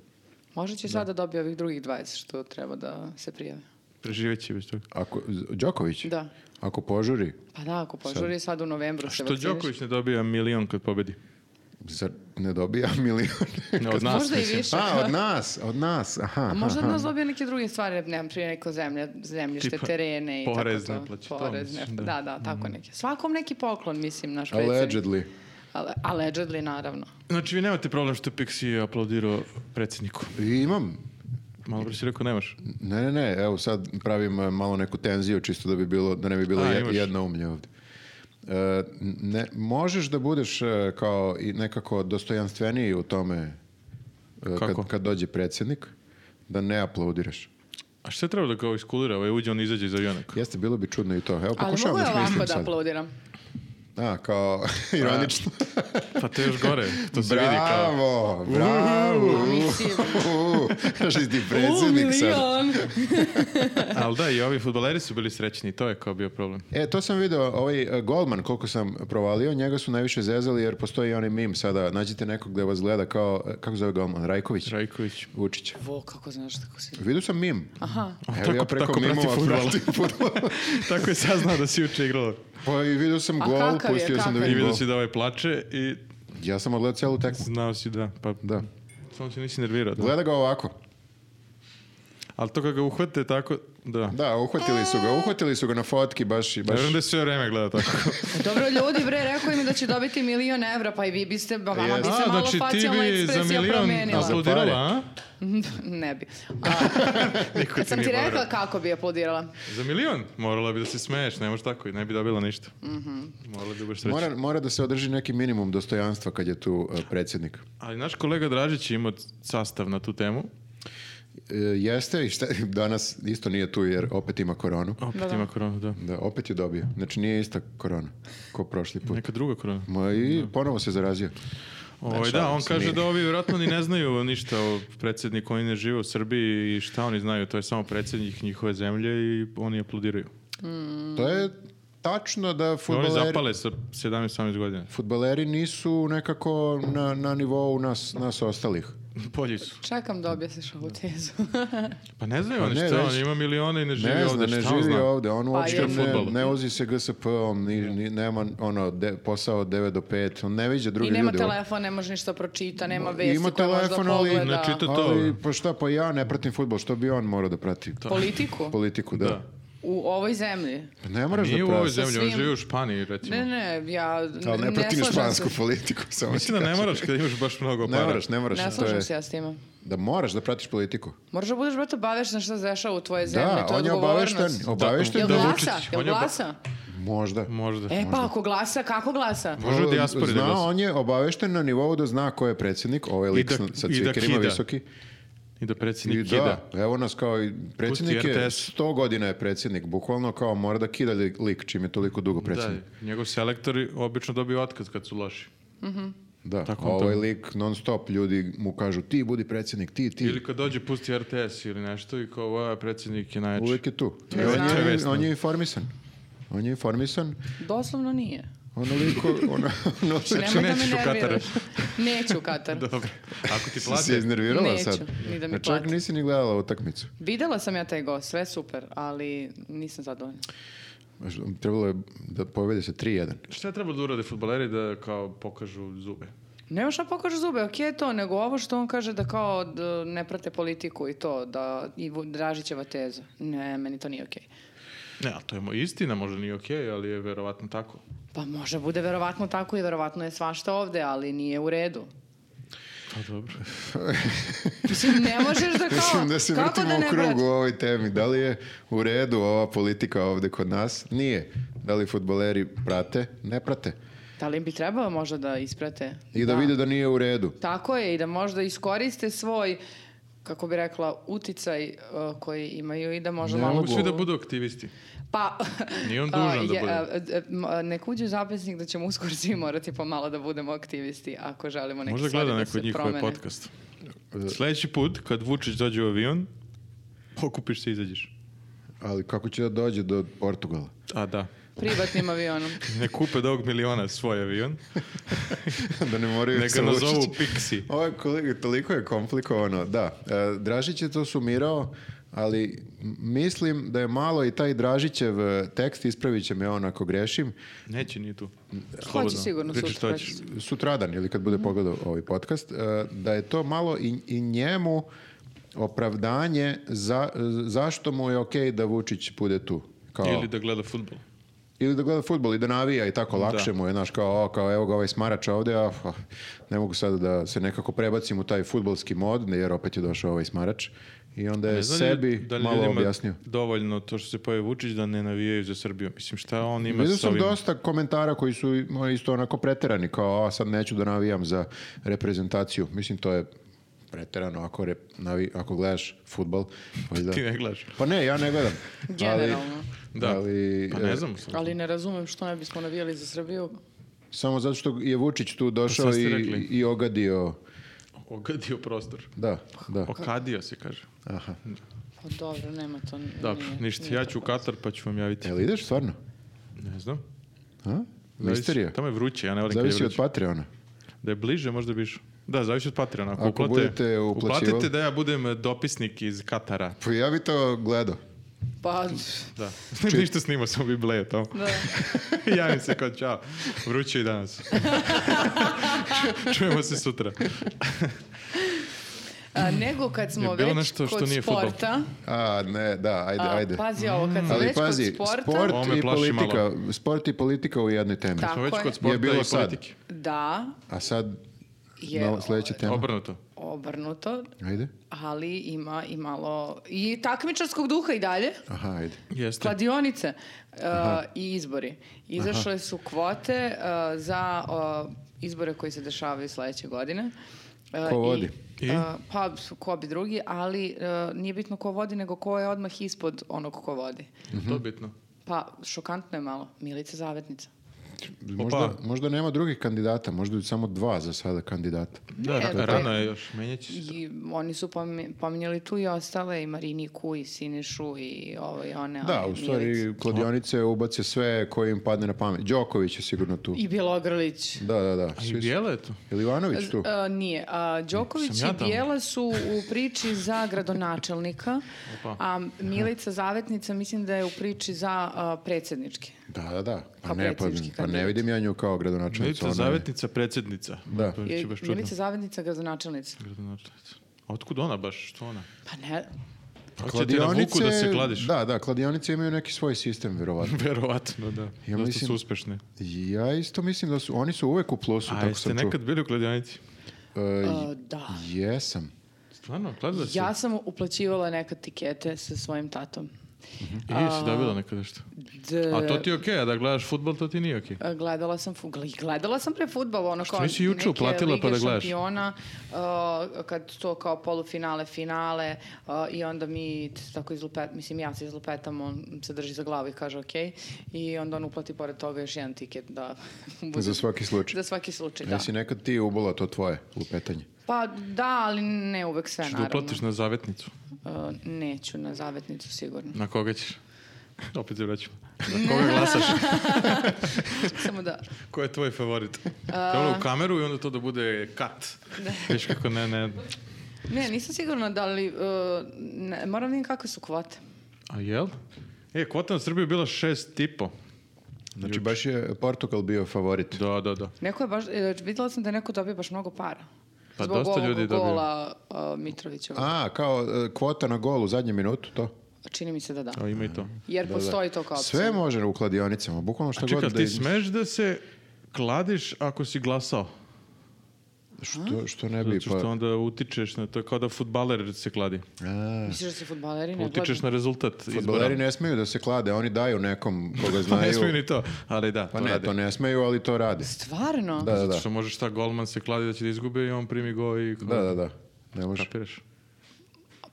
B: Možda će sada dobiti ovih drugih 20 što treba da se prijave.
C: Preživjet će bez toga.
A: Ako, Đoković?
B: Da.
A: Ako požuri,
B: Pa da, ako požuri sad u novembru se
C: Što
B: vakciniš.
C: Đoković ne dobija milion
A: [laughs]
C: kad pobedi?
A: zar ne dobija [laughs] milion?
C: Ne, od nas,
B: Možda i
C: mislim.
B: više.
A: A, od nas, od nas, aha.
B: A
A: aha,
B: možda
A: aha.
B: nas dobije neke druge stvari, nemam prije neko zemlje, zemljište,
C: Tipa,
B: terene i
C: porez
B: tako
C: ne
B: to.
C: plaća, to
B: Porez ne
C: mislim,
B: pla-
C: da.
B: Da, da, tako neke. Svakom neki poklon, mislim, naš predsjednik.
A: Mhm. Allegedly.
B: Ale- Allegedly, naravno.
C: Znači, vi nemate problem što je Pixi aplaudirao predsjedniku.
A: I imam.
C: Malo pre si rekao nemaš.
A: Ne, ne, ne, evo sad pravim e, malo neku tenziju čisto da bi bilo, da ne bi bilo
C: A,
A: jed,
C: imaš.
A: jedna umlje ovdje. E, ne, možeš da budeš e, kao i nekako dostojanstveniji u tome e,
C: Kako?
A: kad, kad dođe predsjednik, da ne aplaudiraš.
C: A šta je trebalo da kao iskulira? Ovaj uđe, on izađe iz aviona.
A: Jeste, bilo bi čudno i to. Evo,
B: Ali
A: pokušavam da
B: mogu ja
A: smislim
B: ovako da
A: sad.
B: aplaudiram.
A: A, kao, [laughs] ironično.
C: Pa to je još gore. To se vidi kao...
A: Bravo, bravo. [laughs]
B: A mislim,
A: Znaš li ti
B: u
A: predsjednik sad?
B: milion.
C: Ali da, i ovi futboleri su bili srećni. To je kao bio problem.
A: E, to sam video, ovaj e, Goldman, koliko sam provalio, njega su najviše zezali jer postoji onaj mim sada, nađite nekog da vas gleda kao, e, kako zove Goldman, Rajković?
C: Rajković.
A: Vučić.
B: Vo, kako znaš tako si.
A: Vidio sam mim.
B: Aha.
A: Evo ja
C: tako-
A: preko
C: tako prati
A: mimova
C: fudbal.
A: pratim
C: [laughs]
A: fudbal.
C: Tako je saznao da si juče igrao.
A: Pa i vidio sam
B: A
A: gol,
B: kakav je,
A: pustio sam da
B: kakav je?
C: I
A: vidim
C: vidio
A: gol.
C: si da ovaj plače i
A: Ja sam odgledao celu tekmu.
C: znao si da. Pa
A: Da.
C: Samo se nisi nervirao. Da.
A: Gleda ga ovako.
C: Ali to kad ga uhvate tako, da.
A: Da, uhvatili su
B: E.
A: ga. Uhvatili su ga na fotki baš i
C: Ne
A: baš.
C: vjerujem da je sve vreme gleda tako.
B: Dobro, ljudi, bre, rekao im da će dobiti milion evra, pa i vi biste, ba, vama bi se
C: A,
B: malo
C: znači ti
B: facijalna
C: bi za
B: ekspresija
C: milion
B: promenila.
A: Za
C: aplaudirala,
A: pare.
C: a?
B: Ne
C: [laughs]
B: bi.
C: Niko
B: Kad sam ti
C: nije poverovao.
B: rekla kako bi aplodirala.
C: Za milion? Morala bi da se smeješ, ne možeš tako i ne bi dobila ništa.
B: Mhm.
C: Morala bi da budeš srećna.
A: Mora, mora da se održi neki minimum dostojanstva kad je tu e, predsjednik.
C: Ali naš kolega Dražić je imao sastav na tu temu.
A: E, jeste i šta, [laughs] danas isto nije tu jer opet ima koronu.
C: Opet
B: Da, da.
C: ima koronu, da.
A: Da, opet je dobio. Znači nije ista korona ko prošli put.
C: Neka druga korona.
A: Ma i ponovo se zarazio.
C: Ovaj, da,
A: šalim
C: on
A: se,
C: kaže
A: nije.
C: da ovi vjerojatno ni ne znaju ništa o predsjedniku, oni ne žive u Srbiji i šta oni znaju, to je samo predsjednik njihove zemlje i oni aplodiraju.
A: To je tačno da
C: Oni
A: futbaleri,
C: zapale sa 17-18 godina.
A: futbaleri nisu nekako na, na nivou nas, nas ostalih.
C: Bolji su.
B: Čekam da objasniš ovu tezu. [laughs]
C: Pa ne znaju
A: Pa
C: oni
A: ne,
C: šta,
A: već-
C: on ima milione i ne živi
A: Ne zna,
C: ovde,
A: ne
C: šta on
A: živi
C: zna?
A: ovde, on uopšte ne,
B: je-
C: Fudbal.
A: ne vozi se GSP-om, ni, ni- nema ono, de- posao od 9 do 5, on ne viđa druge
B: I nema
A: ljude.
B: telefon, ne može ništa pročita, nema vesti
A: Ima
B: koje možda
A: telefon, ali-
B: pogleda.
C: Ne čita- To je to.
A: Ali, pa šta, pa ja ne pratim futbol, što bi on morao da prati?
B: Politiku?
A: Politiku, da.
C: Da.
B: U ovoj zemlji?
A: Pa Ne moraš da
C: Nije u ovoj
A: pratiš.
C: zemlji, on
B: svim-
C: živi u Španiji, recimo.
B: Ne, ne, ja n-
A: Ali ne pratim
B: slažem
A: špansku
B: se.
A: politiku, samo ti
C: Mislim da ne
A: kažem.
C: moraš kada imaš baš mnogo para.
A: Znači, Ne moraš, ne moraš.
B: Ne
A: to je,
B: slažem se ja s time.
A: da moraš da pratiš politiku.
B: Moraš da budeš, brate, obavešten što se dešava u tvojoj zemlji,
A: Da,
B: to je
A: on je
B: odgovornost.
A: obavešten, obavešten
B: Jel
A: da,
C: Da,
B: glasa?
C: Vučić,
B: Jel
C: on je oba-
B: glasa?
A: možda.
C: Možda.
B: E, pa ako glasa, kako glasa?
C: Može u dijaspori da
A: Zna,
C: glasa.
A: on je obavešten na nivou da zna ko je predsjednik, ovaj lik
C: da-
A: sa- sa
C: i da
A: cvikerima
C: kida.
A: visoki.
C: I da
A: I
C: predsjednik
A: da,
C: kida.
A: evo nas kao i predsjednik
C: Pusti
A: je,
C: RTS.
A: 100 godina je predsjednik, bukvalno kao mora da kida li- lik čim je toliko dugo
C: Da,
A: predsjednik.
C: njegov selektor obično dobio otkaz kad su loši.
A: Da,
C: Tako
A: a
C: on to-
A: ovaj lik non stop ljudi mu kažu ti budi predsjednik, ti, ti.
C: Ili kad dođe pusti RTS ili nešto i kao ovaj predsjednik je najjači.
A: Uvijek je tu. I
B: Ne
A: on,
B: znam.
A: je,
C: Čevesno.
A: on je informisan. On je informisan.
B: Doslovno nije.
A: Onoliko, ono, [laughs] ono
B: Znači,
C: Znači,
B: nemoj da me
C: nećeš u Katar.
B: nerviraš.
A: [laughs]
B: Neću u Katar.
C: [laughs] Dobro. Ako
A: si
C: ti
A: se
C: plate,
A: iznervirala
B: Neću,
A: sad.
B: ni da mi
A: A čak
B: plate.
A: nisi ni gledala utakmicu.
B: Videla sam ja taj gost, sve super, ali nisam zadovoljna.
A: Trebalo je da povede se 3-1.
C: šta treba da urade futbaleri da kao pokažu zube?
B: Nema šta pokaže zube, okej je to, nego ovo što on kaže da kao d- ne prate politiku i to, da i Vu- Dražićeva teza. Ne, meni to nije okej.
C: Ne, a to je mo- istina, možda nije okej, ali je verovatno tako.
B: Pa može bude verovatno tako i verovatno je svašta ovde, ali nije u redu.
C: Pa dobro.
B: Mislim, ne možeš
A: [laughs]
B: da kao,
A: Mislim da se
B: kako
A: vrtimo
B: da ne
A: u
B: prati?
A: krugu u ovoj temi. Da li je u redu ova politika ovde kod nas? Nije. Da li futboleri prate? Ne prate.
B: Da li bi trebalo možda da isprate?
A: I da, vide da nije u redu.
B: Tako je, i da možda iskoriste svoj, kako bi rekla, uticaj eh, koji imaju i da možda
A: Ne
B: malo...
A: mogu
C: Mogu svi da budu aktivisti.
B: Pa,
C: [laughs] Nije on
B: a,
C: dužan da
B: je,
C: bude.
B: a, a, m, a, nek uđe u zapisnik da ćemo uskoro svi morati pomalo da budemo aktivisti ako želimo neke
C: Možda
B: stvari
C: gleda
B: da
C: neko
B: se
C: od njihove
B: promene.
C: podcast. Sljedeći put, kad Vučić dođe u avion, okupiš se i izađeš.
A: Ali kako će da dođe do Portugala?
C: A da.
B: Privatnim
C: [laughs]
B: avionom.
C: Ne kupe od ovog miliona svoj
A: [laughs]
C: avion,
A: [laughs] da ne moraju
C: neka
A: sa
C: nazovu
A: Vučićem.
C: Pixi.
A: Ovo je kolega, toliko je komplikovano, da. E, Dražić je to sumirao, ali m- mislim da je malo i taj Dražićev e, tekst, ispravit će me on ako grešim,
C: Neće, nije tu.
B: Hoće sigurno
C: Pričaj
B: sutra.
C: šta ćeš.
A: sutradan ili kad bude pogledao ovaj podcast, e, da je to malo i, i njemu opravdanje za, zašto mu je okej da Vučić bude tu. Kao, E,
C: Ili da gleda futbol.
A: Ili da gleda futbol i da navija i tako lakše mu je, znaš, kao, o, kao evo ga ovaj smarač ovde, a fa, ne mogu sada da se nekako prebacim u taj futbolski mod, jer opet je došao ovaj smarač. I onda je
C: Ne znam
A: sebi
C: li- da li
A: malo
C: ljudima
A: objasnio.
C: dovoljno to što se pojavi Vučić da ne navijaju za Srbiju. Mislim, šta on ima
A: Vidio
C: s
A: sam
C: ovim?
A: dosta komentara koji su i- isto onako preterani, kao a sad neću da navijam za reprezentaciju. Mislim, to je preterano ako, rep, navi, ako gledaš futbol. Valjda.
C: [laughs] Ti ne gledaš.
A: Pa ne, ja ne gledam.
B: Generalno.
A: Ali,
C: Da.
A: ali,
C: pa ne
A: e,
C: znam. sad.
B: Ali ne razumem što ne bismo navijali za Srbiju.
A: Samo zato što je Vučić tu došao
C: Pa sad ste
A: i,
C: rekli.
A: i ogadio.
C: Ogadio prostor.
A: Da, da.
C: Okadio se, kaže.
A: Aha.
B: Pa dobro, nema to. n-
C: Dobro,
B: E, nije-
C: ništa.
B: nije
C: Ja
B: to
C: ću u
B: problem.
C: Katar pa ću vam javiti.
A: Jel ideš stvarno?
C: Ne znam.
A: A?
C: Zavisi-
A: Misterija.
C: Tamo je vruće, ja ne volim kad je
A: Zavisi od
C: vruće.
A: Patreona.
C: Da je bliže, možda bi išao. Da, zavisi od Patreona. Ako,
A: Ako
C: uplate-
A: budete uplaćivali-
C: uplatite da ja budem e, dopisnik iz Katara.
A: Pa ja bi to gledao.
B: Pa,
A: [laughs]
C: Da. [laughs] Ne bi ništa snimao, samo bi bleo [laughs] tamo.
B: da.
C: Javim se kao čao. Vruće je i
A: [laughs]
C: danas. Čujemo se sutra.
B: A, nego kad smo
C: Je bilo
B: već
C: nešto što
B: kod
C: nije fudbal?
B: sporta,
A: A, ne, da, ajde,
B: a,
A: ajde.
B: pazi ovo, kad smo
A: Ali
B: već
A: pazi,
B: kod sporta,
A: sport
C: Ovo me
A: i
C: plaši malo.
A: politika, sport i politika u jednoj temi.
B: Da.
C: Smo već
B: Tako je.
C: kod
A: Je
C: sporta
A: bilo
C: i
A: sad.
C: politike.
B: da,
A: A sad,
B: je ovaj.
A: no, sledeća tema.
C: Obrnuto.
B: obrnuto,
A: Ajde.
B: ali ima i malo i takmičarskog duha i dalje.
A: Aha, ajde.
C: Jeste.
B: Kladionice uh, i izbori. Izašle su kvote uh, za uh, izbore koji se dešavaju sledeće godine. Uh,
A: Ko vodi?
B: I,
C: I?
B: uh, pa ko bi drugi, ali uh, nije bitno ko vodi, nego ko je odmah ispod onog ko vodi.
C: To
A: Mhm.
C: je bitno.
B: Pa šokantno je malo. Milica Zavetnica.
A: Možda, možda nema drugih kandidata, možda je samo dva za sada kandidata.
C: Da,
B: Ne,
C: ra-
B: dakle, to-
C: E, rano je još. Menjat će se.
B: I oni su pomi- pominjali tu i ostale, i Mariniku, i Sinišu, i ovo i one.
A: Da,
B: ali
A: u
B: Milicu.
A: stvari kladionice ubace sve koje im padne na pamet. Đoković je sigurno tu.
B: I Bjelogrlić.
A: Da, da, da.
C: A
A: svi
C: i
A: su.
C: bijela je to.
A: Ili Ivanović tu?
B: E, nije. A, Đoković
C: Sam ja
B: i
C: tamo.
B: Bijela su u priči za gradonačelnika,
C: Opa.
B: a Milica Zavetnica mislim da je u priči za a, predsjednički.
A: Da, da, da. Pa
B: Kao
A: ne, pa,
B: predsjednički
A: pa ne
B: kandidat.
A: vidim ja nju kao gradonačelnicu.
C: Milica
A: ona je-
C: Zavetnica, predsjednica.
A: Da.
C: To
B: Je-
C: će baš čudno.
B: Milica Zavetnica, gradonačelnica.
C: Gradonačelnica. A otkud ona baš? Što ona?
B: Pa ne,
C: Hoće ti na vuku da se kladiš?
A: Pa Da, da, kladionice imaju neki svoj sistem,
C: [laughs]
A: vjerovatno.
C: Verovatno, da. Dosta
A: mislim-
C: su uspešne.
A: Ja isto mislim da su, oni su uvek u plusu,
C: A
A: tako
C: jeste
A: sam čuo.
C: nekad bili u kladionici?
A: E,
B: a, da.
A: Jesam.
C: Stvarno, kladila si?
B: Ja sam uplaćivala nekad tikete sa svojim tatom.
C: I si dobila nekad nešto.
B: D-
C: A to ti je okej, a da gledaš futbol, to ti nije okej. Znači
B: a, E, Gledala sam, fu- gle- gledala sam pre futbal, ono kao
C: nisi juče
B: neke
C: uplatila
B: lige
C: pa da gledaš?
B: šampiona, a, kad to kao polufinale, finale a, i onda mi t- tako izlupet, mislim ja se izlupetam, on se drži za glavu i kaže ok i onda on uplati pored toga još jedan tiket da [laughs] bude-
A: Za svaki slučaj.
B: Za svaki slučaj,
A: Da.
B: da.
A: Jesi nekad ti ubola to tvoje lupetanje?
B: Pa da, ali ne uvek sve,
C: Češ da
B: naravno.
C: uplatiš na zavetnicu.
B: A, neću na zavetnicu sigurno. [laughs]
C: Na koga ćeš? [laughs] Opet se vraćamo. Na koga
B: [laughs]
C: glasaš?
B: Samo da
C: Ko je tvoj favorit? Dobro u kameru i onda to da bude kat. [laughs] Viš kako ne, ne.
B: Ne, nisam sigurna da li... e, ne, moram vidim kakve su kvote.
C: A jel? E, kvota na Srbiju je bila šest tipo.
A: Znači baš je Portugal bio favorit.
C: Da, da, da.
B: Neko je baš... e, videla sam da je neko dobio baš mnogo para.
C: Pa
B: Zbog
C: dosta
B: ovog
C: ljudi dobio.
B: gola e, Mitrovićeva.
A: A, kao e, kvota na gol u zadnjem minutu, to?
B: Čini mi se da da.
C: A, ima i to.
B: Jer postoji to kao opcija.
A: Sve može u kladionicama, bukvalno šta
C: A
A: god
C: čekaj,
A: da
C: ti
A: iz-
C: smeš da se kladiš ako si glasao?
A: Što, što ne bi
C: Zato što
A: pa...
C: onda utičeš na to, kao da futbaler se kladi.
A: A,
B: Misliš da su futbaleri ne
C: Utičeš na rezultat
A: Fudbaleri
C: izbora.
A: ne smeju da se klade, oni daju nekom koga
C: [laughs] Pa
A: znaju.
C: ne smiju ni to, ali da,
A: Pa
C: to
A: ne,
C: rade.
A: to ne smeju, ali to rade.
B: Stvarno?
A: Da, da,
C: Zato
A: da.
C: što možeš ta golman se kladi da će da izgube i on primi go i...
A: Da, da, da. Ne može.
C: Kapiraš?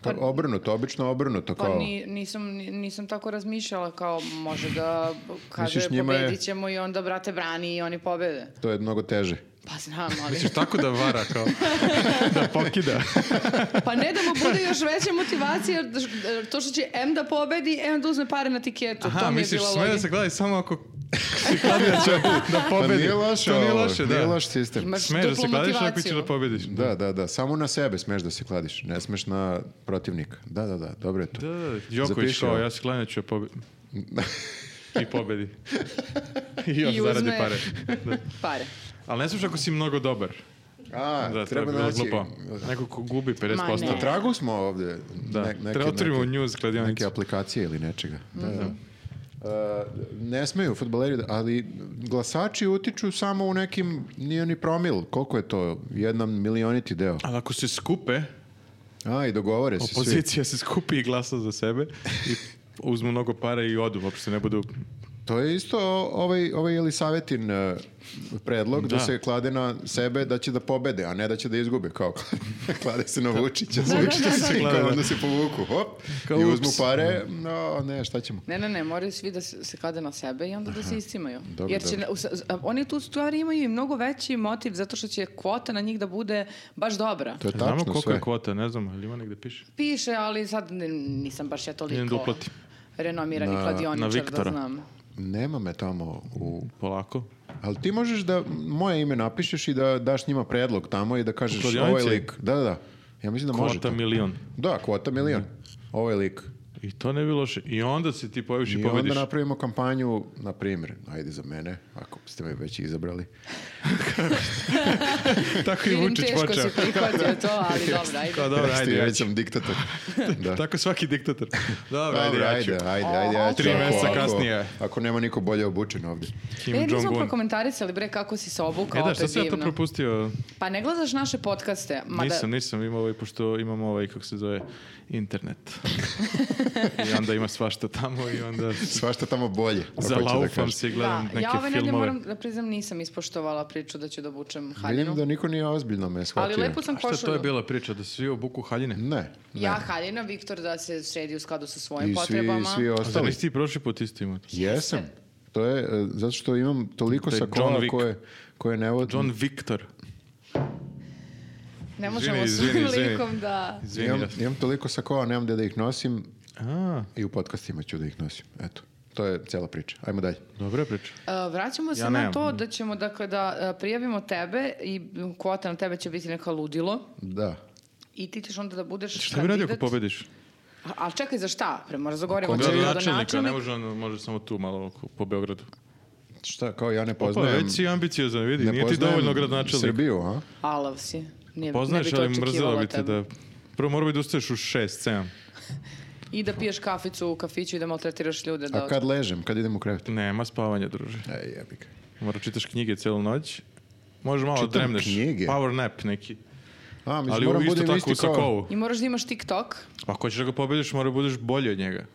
B: Pa-
A: Obrnuto, obično obrnuto
B: Pa
A: kao.
B: ni- nisam, ni- nisam tako razmišljala kao može da kaže
A: Misliš, njima je-
B: pobedit ćemo i onda brate brani i oni pobede.
A: To je mnogo teže.
B: Pa
A: [laughs]
B: znam, ali...
C: Ćeš tako da vara kao,
B: [laughs]
C: da pokida.
B: Pa ne da mu bude još veća motivacija jer š- jer to što će M da pobedi, M da uzme pare na tiketu.
C: Aha,
B: to mi je
C: misliš,
B: bila
C: sme da
B: logika.
C: se gledaj samo ako si kladio
A: [laughs]
C: će da
A: Pa
C: pobedi.
A: nije loše
C: To nije
A: ovo,
C: loše, da.
A: nije loš sistem.
B: Imaš
C: Smeš da
B: duplu
C: se kladiš ako ćeš
B: motivaciju.
C: da pobediš.
A: Da, da, da. Samo na sebe smeš da se kladiš. Ne smeš na protivnika. Da, da, da. Dobro je to.
C: Da, da, da. Đoković
A: Zapiši
C: kao,
A: ovo.
C: ja se klanjat ću da
A: [laughs]
C: pobedim. I
B: [laughs]
C: pobedi. I još
B: I
C: zaradi
B: uzme. [laughs]
C: pare. Da.
B: Pare.
C: Ali ne smiješ ako si mnogo dobar.
A: A,
C: Da, treba
A: Pa, treba
C: je bilo
A: naći...
C: glupo. Neko ko gubi 50%.
B: Ma
A: Na
B: ne.
A: tragu smo ovde.
C: Da,
A: ne- neke-
C: treba otvorimo
A: neke-
C: news kladionicu. Mhm.
A: Neke aplikacije ili nečega. Da, da. Uh, ne smeju futbaleri, da- ali glasači utiču samo u nekim, nije ni promil, koliko je to, jedan milioniti deo.
C: Ali ako se skupe,
A: A, i dogovore se svi.
C: opozicija se skupi i glasa za sebe i uzmu mnogo para i odu, uopšte ne budu...
A: To je isto o- ovaj, ovaj Elisavetin e, predlog da.
C: Da.
A: se klade na sebe da će da pobede, a ne da će da izgube, kao [laughs] klade se na Vučića.
B: da, da,
A: svi,
C: [laughs] da.
A: kao onda se povuku, hop,
C: Kao,
A: i uzmu
C: ups.
A: pare, no ne, šta ćemo.
B: Ne, ne, ne, moraju svi da se, se klade na sebe i onda da se iscimaju.
A: Dobro,
B: Jer će,
A: dobro.
B: na- u sa- a oni tu stvari imaju i mnogo veći motiv zato što će kvota na njih da bude baš dobra.
A: To je
C: Znamo
A: tačno
C: koliko
A: sve.
C: je kvota, ne znam, ali ima negde piše.
B: Piše, ali sad ne- nisam baš ja
C: Idem da
B: toliko
C: uplatim.
B: renomirani
A: Na-
C: na
B: kladioničar da
C: Viktora.
B: znam.
A: Nema me tamo u...
C: Polako.
A: Ali ti možeš da moje ime napišeš i da daš njima predlog tamo i da
C: U
A: kažeš
C: kladionici?
A: ovaj lik. Da, da, da. Ja mislim da može
C: Kvota Mhm.
A: to.
C: milion.
A: Da, kvota milion. Ovaj lik.
C: I to ne bi loše. I onda se ti pojaviš i,
A: I
C: Znači, pobediš.
A: onda
C: [laughs]
A: napravimo kampanju, na primjer, ajde za mene, ako ste me već izabrali.
C: Tako i
B: Vidim,
C: Vučić
B: teško
C: počeo.
B: si prihvatio to,
C: [laughs]
B: ali dobro, ajde.
C: Kao Pa
A: [laughs]
C: dobro,
A: Ajde,
C: ajde, ja
A: već
C: ću.
A: sam
C: [laughs]
A: diktator. Da.
C: Tako svaki diktator.
A: Dobro,
C: Dobro, ajde, ja ću.
A: ajde, ajde, ajde, ja ću.
C: Tri
A: ako-
C: mjeseca
A: ako-
C: kasnije.
A: Ako nema niko bolje obučen
C: [laughs]
A: ovdje.
C: Kim
B: E, nismo
C: Jong-un.
B: prokomentarisali, bre, kako si se obukao,
C: E da,
B: opet
C: šta sam ja to
B: divno.
C: propustio?
B: Pa ne gledaš naše podcaste, mada...
C: Nisam, nisam imao ovaj, pošto imam ovaj, kako se zove,
B: [laughs]
C: internet. I onda ima svašta tamo i onda
A: Svašta tamo bolje. ako hoću da
C: zalaufam
A: kažem.
C: se i gledam
B: da,
C: neke
B: ja ove nedelje
C: filmove.
B: moram da priznam nisam ispoštovala priču da ću da obučem haljinu.
A: Vidim da niko nije ozbiljno me shvatio.
B: Ali lepo sam
C: A šta
B: košulju.
C: to je bila priča, da svi obuku haljine?
A: Ne, ne.
B: Ja haljina, Viktor da se sredi u skladu sa svojim
A: I svi,
B: potrebama.
A: svi
C: A zar
A: ostali.
C: nisi ti prošli put isto imao?
A: Jesam. To je, e, zato što imam toliko
C: To je
A: sakola
C: John Wick.
A: koje, koje ne vodim.
C: John Victor.
B: Ne možemo
C: Izvini,
B: svojim
C: izvini, izvini.
B: likom da...
C: Izvini.
A: Imam,
C: ja-
A: imam toliko sakola, nemam gde da ih nosim
C: A,
A: i u podcastima ću da ih nosim. Eto, to je cela priča. Ajmo dalje.
C: dobra je priča.
B: Uh, vraćamo se
C: Ja
B: na
C: nemam.
B: to da ćemo, dakle, da uh, prijavimo tebe i mm, kvota na tebe će biti neka ludilo
A: Da.
B: i ti ćeš onda da budeš
C: Šta bi radio ako
B: kandidat.
C: pobediš?
B: A- Ali čekaj, za šta? Pre, mora zagovorimo.
C: Kod
B: Hoće li
C: gradonačelnika, ne
B: gradonačelnik?
C: može on, može samo tu malo oko- po Beogradu.
A: Šta, kao ja ne
C: Pa
A: poznajem...
C: već si ambiciozan, vidi,
A: ne
C: nije ti
A: poznajem
C: dovoljno gradonačelnik.
A: Srbiju, a?
B: Alav si. Nije,
C: Pa Poznaš,
B: ne bi to
C: ali mrzela
B: očekivala
C: bi te
B: tebe.
C: da... Prvo morao bi da ustaješ u šest, sedam.
B: I da piješ kaficu u kafiću i da maltretiraš ljude. Da...
A: A kad ležem, kad idem u krevet?
C: Nema spavanja, druže.
A: Ej, jebi ga.
C: Mora čitaš knjige celu noć. Može malo
A: Čitam
C: dremneš.
A: knjige?
C: Power nap neki.
A: A, mislim,
C: Ali
A: moram
C: uvijek isto
A: budem
C: tako u
A: isti kao-
C: sakovu.
B: I moraš da imaš TikTok.
C: Pa ako ćeš da ga pobediš, mora da budeš bolji od njega.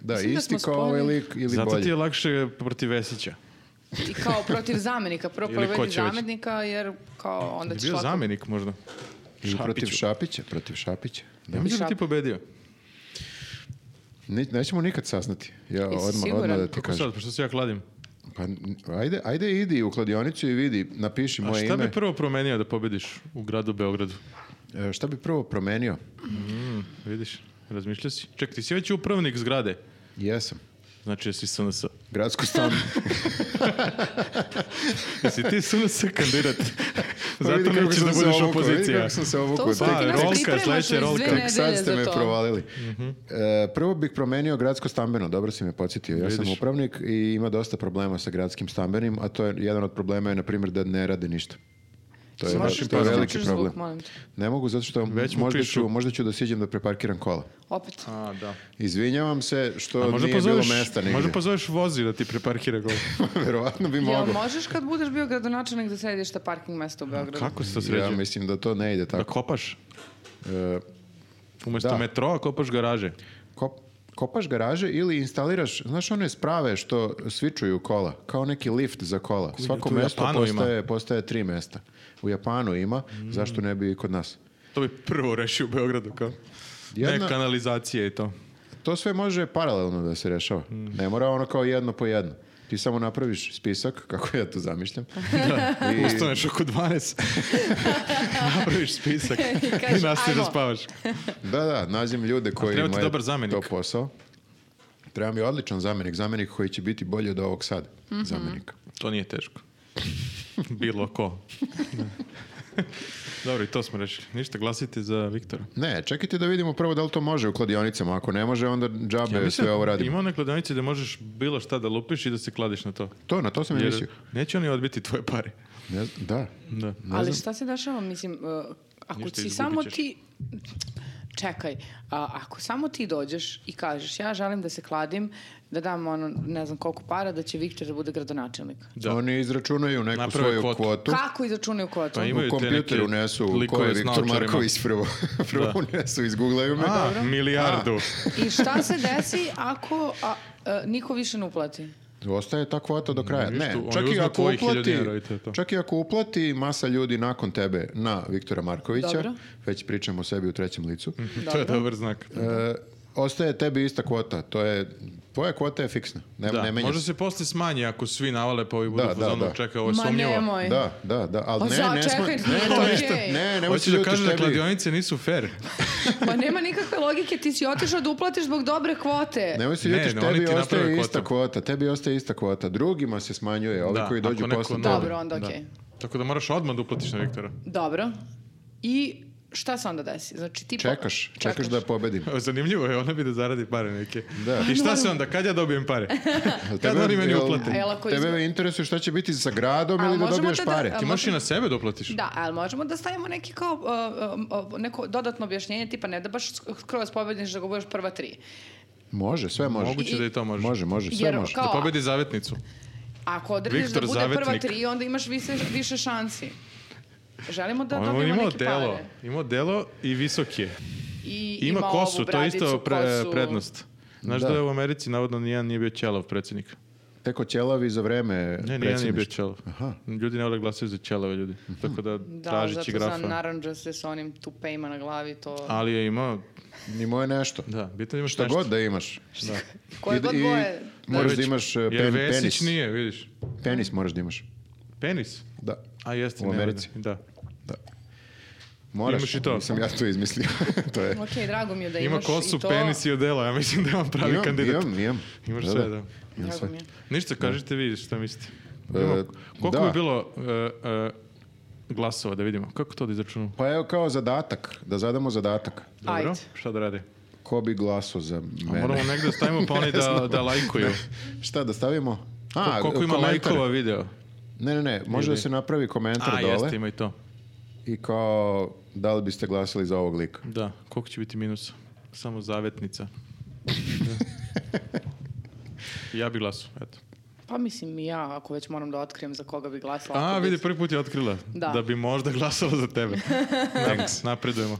A: Da,
B: Mislim da
A: isti
B: smo
A: kao ovaj
B: spojeni.
A: lik ili
C: Zato
A: bolje.
C: ti je lakše protiv Vesića.
B: I kao
C: [laughs]
B: protiv zamenika. Prvo
C: Ili ko
B: provedi
C: će već?
B: zamenika jer kao onda
C: Je
B: ćeš
C: bio
B: lako...
C: zamenik možda.
A: Ili protiv
C: Šapiću.
A: Šapića, protiv Šapića. Da.
C: Ja mislim da bi ti pobedio.
A: Ne, nećemo nikad saznati. Ja
B: Jesi
A: odmah,
B: siguran?
A: odmah da ti
C: Kako
A: kažem.
C: Pa sad, pošto se ja kladim.
A: Pa, n- ajde, ajde idi u kladionicu i vidi, napiši
C: A
A: moje
C: šta
A: ime.
C: bi prvo promenio da pobediš u gradu Beogradu?
A: E, šta bi prvo promenio?
C: Vidiš, razmišlja si. Ček, ti si već upravnik zgrade.
A: Jesam.
C: Znači, jesi SNS.
A: Gradsku stan.
C: Jesi ti SNS
A: [laughs]
C: kandidat? [laughs] Zato
A: Pa Vidi kako
C: nećeš
A: sam
C: da
A: se
C: budeš
A: obukao, Vidi
C: opozicija.
A: kako sam se
B: To
A: obukao.
B: ste
C: Pa,
B: ti nas
C: rolka,
B: pripremaš već dve
C: sledeća rolka.
B: nedelje
C: Kako
A: Sad ste
B: za
A: me
B: to.
A: provalili.
C: Mhm.
A: E, prvo bih promenio gradsko stambeno, dobro si me podsjetio. Ja sam
C: Vidiš.
A: upravnik i ima dosta problema sa gradskim stambenim, a to je jedan od problema je, na primjer, da ne rade ništa. To je,
B: Možeš
A: to je
B: da
A: veliki
B: isključiš
A: problem.
B: zvuk, molim te.
A: ne mogu, zato što
C: Već mu
A: možda
C: pišu.
A: ću, možda ću da siđem da preparkiram kola.
B: Opet.
C: A, da.
A: Izvinjavam se što
C: A možda
A: nije
C: pozoveš,
A: bilo mesta nigde.
C: možda pozoveš vozi da ti
A: [laughs]
C: preparkira gol.
A: Verovatno bi
B: Jel
A: mogao.
B: možeš kad budeš bio gradonačelnik da sediš na parking mesta u Beogradu?
C: Kako se to
A: Ja
C: sređuje?
A: mislim da to ne ide
C: da
A: tako.
C: kopaš?
A: E,
C: Umesto
A: Da.
C: metroa kopaš garaže.
A: kop- kopaš garaže ili instaliraš, znaš one sprave što svičuju kola, kao neki lift za kola. Svako
C: to u
A: mesto
C: Japanu ima. Mm.
A: postaje, postaje tri mesta. U Japanu ima, zašto ne bi i kod nas?
C: To bi prvo rešio u Beogradu kao.
A: Jedna-
C: Ne kanalizacije i to.
A: To sve može paralelno da se rešava.
C: Mm.
A: Ne mora ono kao jedno po jedno. Ti samo napraviš spisak, [laughs] kako ja to zamišljam.
C: [laughs]
A: I-
C: Ustaneš oko 12.
A: [laughs]
C: Napraviš
B: [laughs]
C: spisak
B: I
C: i
B: kažeš,
C: nastaviš da
B: ajmo.
C: spavaš.
A: Da, da, nađem ljude koji
C: treba ti
A: imaju
C: dobar zamenik.
A: to posao. Treba mi odličan zamenik, zamenik koji će biti bolji od ovog sad zamenika.
C: To nije teško. Bilo
A: [laughs]
C: ko. Da. Dobro, i to smo rešili. Ništa, glasite za Viktora.
A: Ne, čekajte da vidimo prvo da li to može u kladionicama. Ako ne može, onda džabe sve ovo radimo.
C: ima one kladionice gde možeš bilo šta da lupiš i da se kladiš na to.
A: To, na to sam i mislio.
C: Jer neće oni odbiti tvoje pare.
A: Ne, z- da.
C: Da.
B: Ali šta se dešava, mislim, uh, ako
C: Ništa,
B: si
C: izgubit
B: samo
C: ćeš.
B: ti... čekaj, a, ako samo ti dođeš i kažeš ja želim da se kladim, da dam ono, ne znam koliko para, da će Viktor da bude gradonačelnik.
C: Da.
A: Oni izračunaju neku
C: Naprave
A: svoju
C: kvotu.
A: kvotu.
B: Kako izračunaju kvotu?
C: Pa ima-
A: U
C: Imaju te
A: kompjuter
C: neke
A: unesu ko
C: likove
A: je
C: s
A: Viktor
C: naočarima.
A: Marković prvo, prvo unesu, izgooglaju me.
C: A, Pa milijardu.
B: I šta se desi ako a, a, niko više ne uplati?
A: Ostaje ta kvota do kraja.
C: ništa,
A: Ne,
C: oni
A: čak i
C: uzmu
A: ako
C: tvojih hiljadu
A: uplati,
C: dinara i to je to.
A: čak i ako uplati masa ljudi nakon tebe na Viktora Markovića,
B: Dobro.
A: već pričamo o sebi u trećem licu,
C: [laughs] to je dobar znak.
A: e, ostaje tebi ista kvota. To je, tvoja kvota je fiksna. Ne,
C: Da,
A: ne menja
C: možda
A: se.
C: se posle smanji ako svi navale pa ovi budu
A: Da,
C: da,
A: da, da.
C: čeka, ovo je
B: Ma
C: sumnjivo.
B: nemoj.
A: Da, da, da. Ali
B: Pa
A: ne,
B: za-
A: ne,
B: čekaj,
A: sma-
B: nije
A: ne,
B: to
A: ne,
B: okej.
A: ne, nemoj se
C: Hoćeš da
A: ljutiš,
C: kažeš da
A: tebi-
C: kladionice nisu fair.
B: Pa nema nikakve logike, ti si otišao da uplatiš zbog dobre kvote.
A: Nemoj se
C: Ne,
A: ljutiš,
C: ne, oni
A: tebi
C: ti
A: ostaje
C: naprave
A: ista
C: kvotu.
A: kvota, tebi ostaje ista kvota. Drugima se smanjuje, ovi
C: Da,
A: koji dođu
C: ako neko
A: posle.
C: novi.
A: tebe.
B: Dobro, onda okej.
C: Tako da moraš odmah da uplatiš na
A: [laughs]
C: Viktora.
B: Dobro. I šta se onda desi? Znači, ti po-
A: Čekaš, čekaš da
C: [laughs]
A: pobedim.
C: Zanimljivo je, ona bi da zaradi pare neke.
A: Da.
C: I šta se onda, kad ja dobijem
B: [laughs]
C: pare?
A: Jel
C: Kad oni meni
A: jel-
C: uplate?
B: A jel ako izgu-
A: Tebe interesuje šta će biti sa gradom
B: A
A: ili da
B: možemo
A: dobiješ
B: tada-
A: pare.
B: a
C: Ti možeš i na sebe da uplatiš.
B: Da, ali možemo da stavimo neki kao, uh, uh, uh, neko dodatno objašnjenje, tipa ne da baš sk- skroz pobediš da ga budeš prva tri.
A: Može, sve može.
C: Moguće
B: I-
C: da i to možeš.
A: Može, može, sve
B: Jer
A: može.
B: kao-
C: Da pobedi zavetnicu.
B: Ako odrediš
C: Viktor
B: da bude prva
C: Zavetnik.
B: tri, onda imaš više, više šansi. Želimo da
C: On on
B: dobijemo
C: Ono, imao
B: neke
C: delo,
B: pare.
C: imao delo i visok je.
B: I
C: Ima,
B: ovu
C: kosu, to je isto
B: bradicu,
C: pre-
B: kosu.
C: prednost. Znaš
A: Da.
C: da. je u Americi navodno nijedan nije bio ćelav predsjednik.
A: Teko ćelavi za vreme
C: Ne, nijedan nije bio
A: predsjedništva.
C: ćelav. Ljudi ne vole glasaju za ćelave ljudi.
A: Mhm.
C: Tako da,
B: Da,
C: tražići
B: zato znam,
C: grafa.
B: naranđa se sa onim tupejima na glavi, to...
C: Ali je imao,
A: Imao je nešto.
C: da, bitno je imaš
A: Šta
C: nešto.
A: god da imaš.
B: Koje
A: I-
B: god
A: i
B: boje...
A: Moraš
C: Jer
A: da
C: već-
A: imaš e,
C: Jer
A: pen-
C: Vesić
A: penis.
C: nije, vidiš.
A: Penis moraš da imaš.
C: Penis?
A: Da.
C: A jeste.
A: U
C: ne,
A: Americi.
C: ne, Da.
A: Moraš.
C: Imaš i to.
A: Nisam ja to izmislio. [laughs] to
B: [laughs]
C: [laughs]
A: je.
B: Ok, drago mi je da
C: Ima
B: imaš
C: kosu,
B: i to.
C: penis i odela. Ja mislim da je on pravi
A: Imam,
C: kandidat.
A: imam, imam.
C: Imaš sve, da.
A: Imam sve.
B: Drago mi je.
C: Ništa, kažite vi šta mislite.
A: E,
C: Imamo- koliko
A: da.
C: bi bilo e, e, glasova, da vidimo. Kako to da izračunamo?
A: Pa evo kao zadatak, da zadamo zadatak.
C: Dobro,
B: Ajde.
C: šta da radi?
A: Ko bi glaso za
C: A
A: mene?
C: moramo negde da stavimo [laughs] pa
A: [laughs]
C: oni da, da lajkuju.
A: Šta da stavimo? A,
C: Koliko ima
A: komentar.
C: lajkova video?
A: Ne, ne, ne, može
C: Ili-
A: da se napravi komentar
C: A,
A: dole
C: jeste, ima i to.
A: i kao da li biste glasali za ovog lika.
C: Da, koliko će biti minusa? Samo [laughs] zavetnica. ja bi glasu, eto.
B: Pa mislim i ja, ako već moram da otkrijem za koga bi glasala.
C: A,
B: ako bi-
C: vidi, prvi put je otkrila
B: Da.
C: da, bi možda glasala za
A: [laughs]
C: tebe. Thanks. Napredujemo.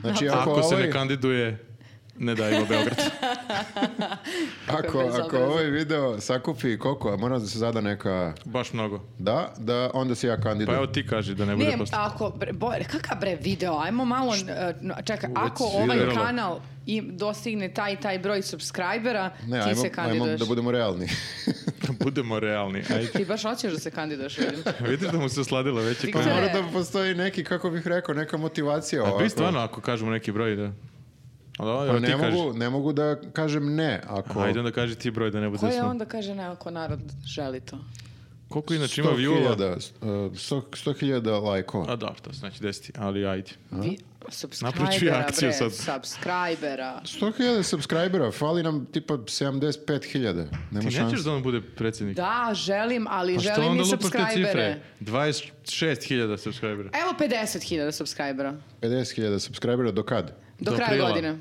A: Znači,
C: [laughs] Ako,
A: ako,
C: se
A: ovaj-
C: ne kandiduje, ne dajmo
A: [laughs]
C: Beograd.
A: Ako,
B: Kako je
A: ako
B: bezobrazno.
A: ovaj video sakupi koliko, a mora da se zada neka
C: Baš mnogo.
A: da, da onda se ja
C: Pa
A: kandidujem.
C: evo ti kaži da ne bude
B: Ne,
C: posle.
B: ako, bre, bo, kakav bre video, ajmo malo, e, no, čekaj, ako
A: si
B: ovaj
C: videla.
B: kanal i dostigne taj i taj broj subscribera,
A: ne,
B: ti
A: ajmo,
B: se
A: ajmo
B: kandiduješ.
A: da budemo realni. pa-
C: Budemo realni. Ajde.
B: Ti baš hoćeš da se kandiduješ,
C: [laughs]
B: vidim.
C: Vidiš da mu se osladila već. je
B: Ti
A: Pa
C: kao-
B: Ne.
A: mora da postoji neki, kako bih rekao, neka motivacija
C: A
A: ovako.
C: bi stvarno ako kažemo neki broj da... Ali ovo,
A: Pa
C: evo ti
A: ne
C: kaži.
A: mogu, ne mogu da kažem ne. Ako,
C: Ajde onda kaži ti broj da ne bude
B: Ko je
C: slo-
B: onda kaže ne ako narod želi to?
C: Koliko inače znači ima
A: 100
C: view-ova?
A: hiljada, uh, 100 100 hiljada lajkova.
C: A da, to se neće desiti, ali ajde.
B: Vi,
C: Napraviću ja
B: subscribera,
C: akciju
B: bre,
C: sad.
B: subscribera.
A: 100 hiljada subscribera, fali nam tipa 75 hiljada. Nema
C: Ti nećeš
A: šanse.
C: da on bude predsjednik?
B: Da, želim, ali
C: Pa što
B: želim
C: onda
B: i
C: lupaš te
B: subscribere.
C: cifre? 26.000 subscribera.
B: Evo 50.000 subscribera.
A: 50 hiljada subscribera, do kad?
B: Do,
C: Do
B: kraja
C: aprila.
B: godine.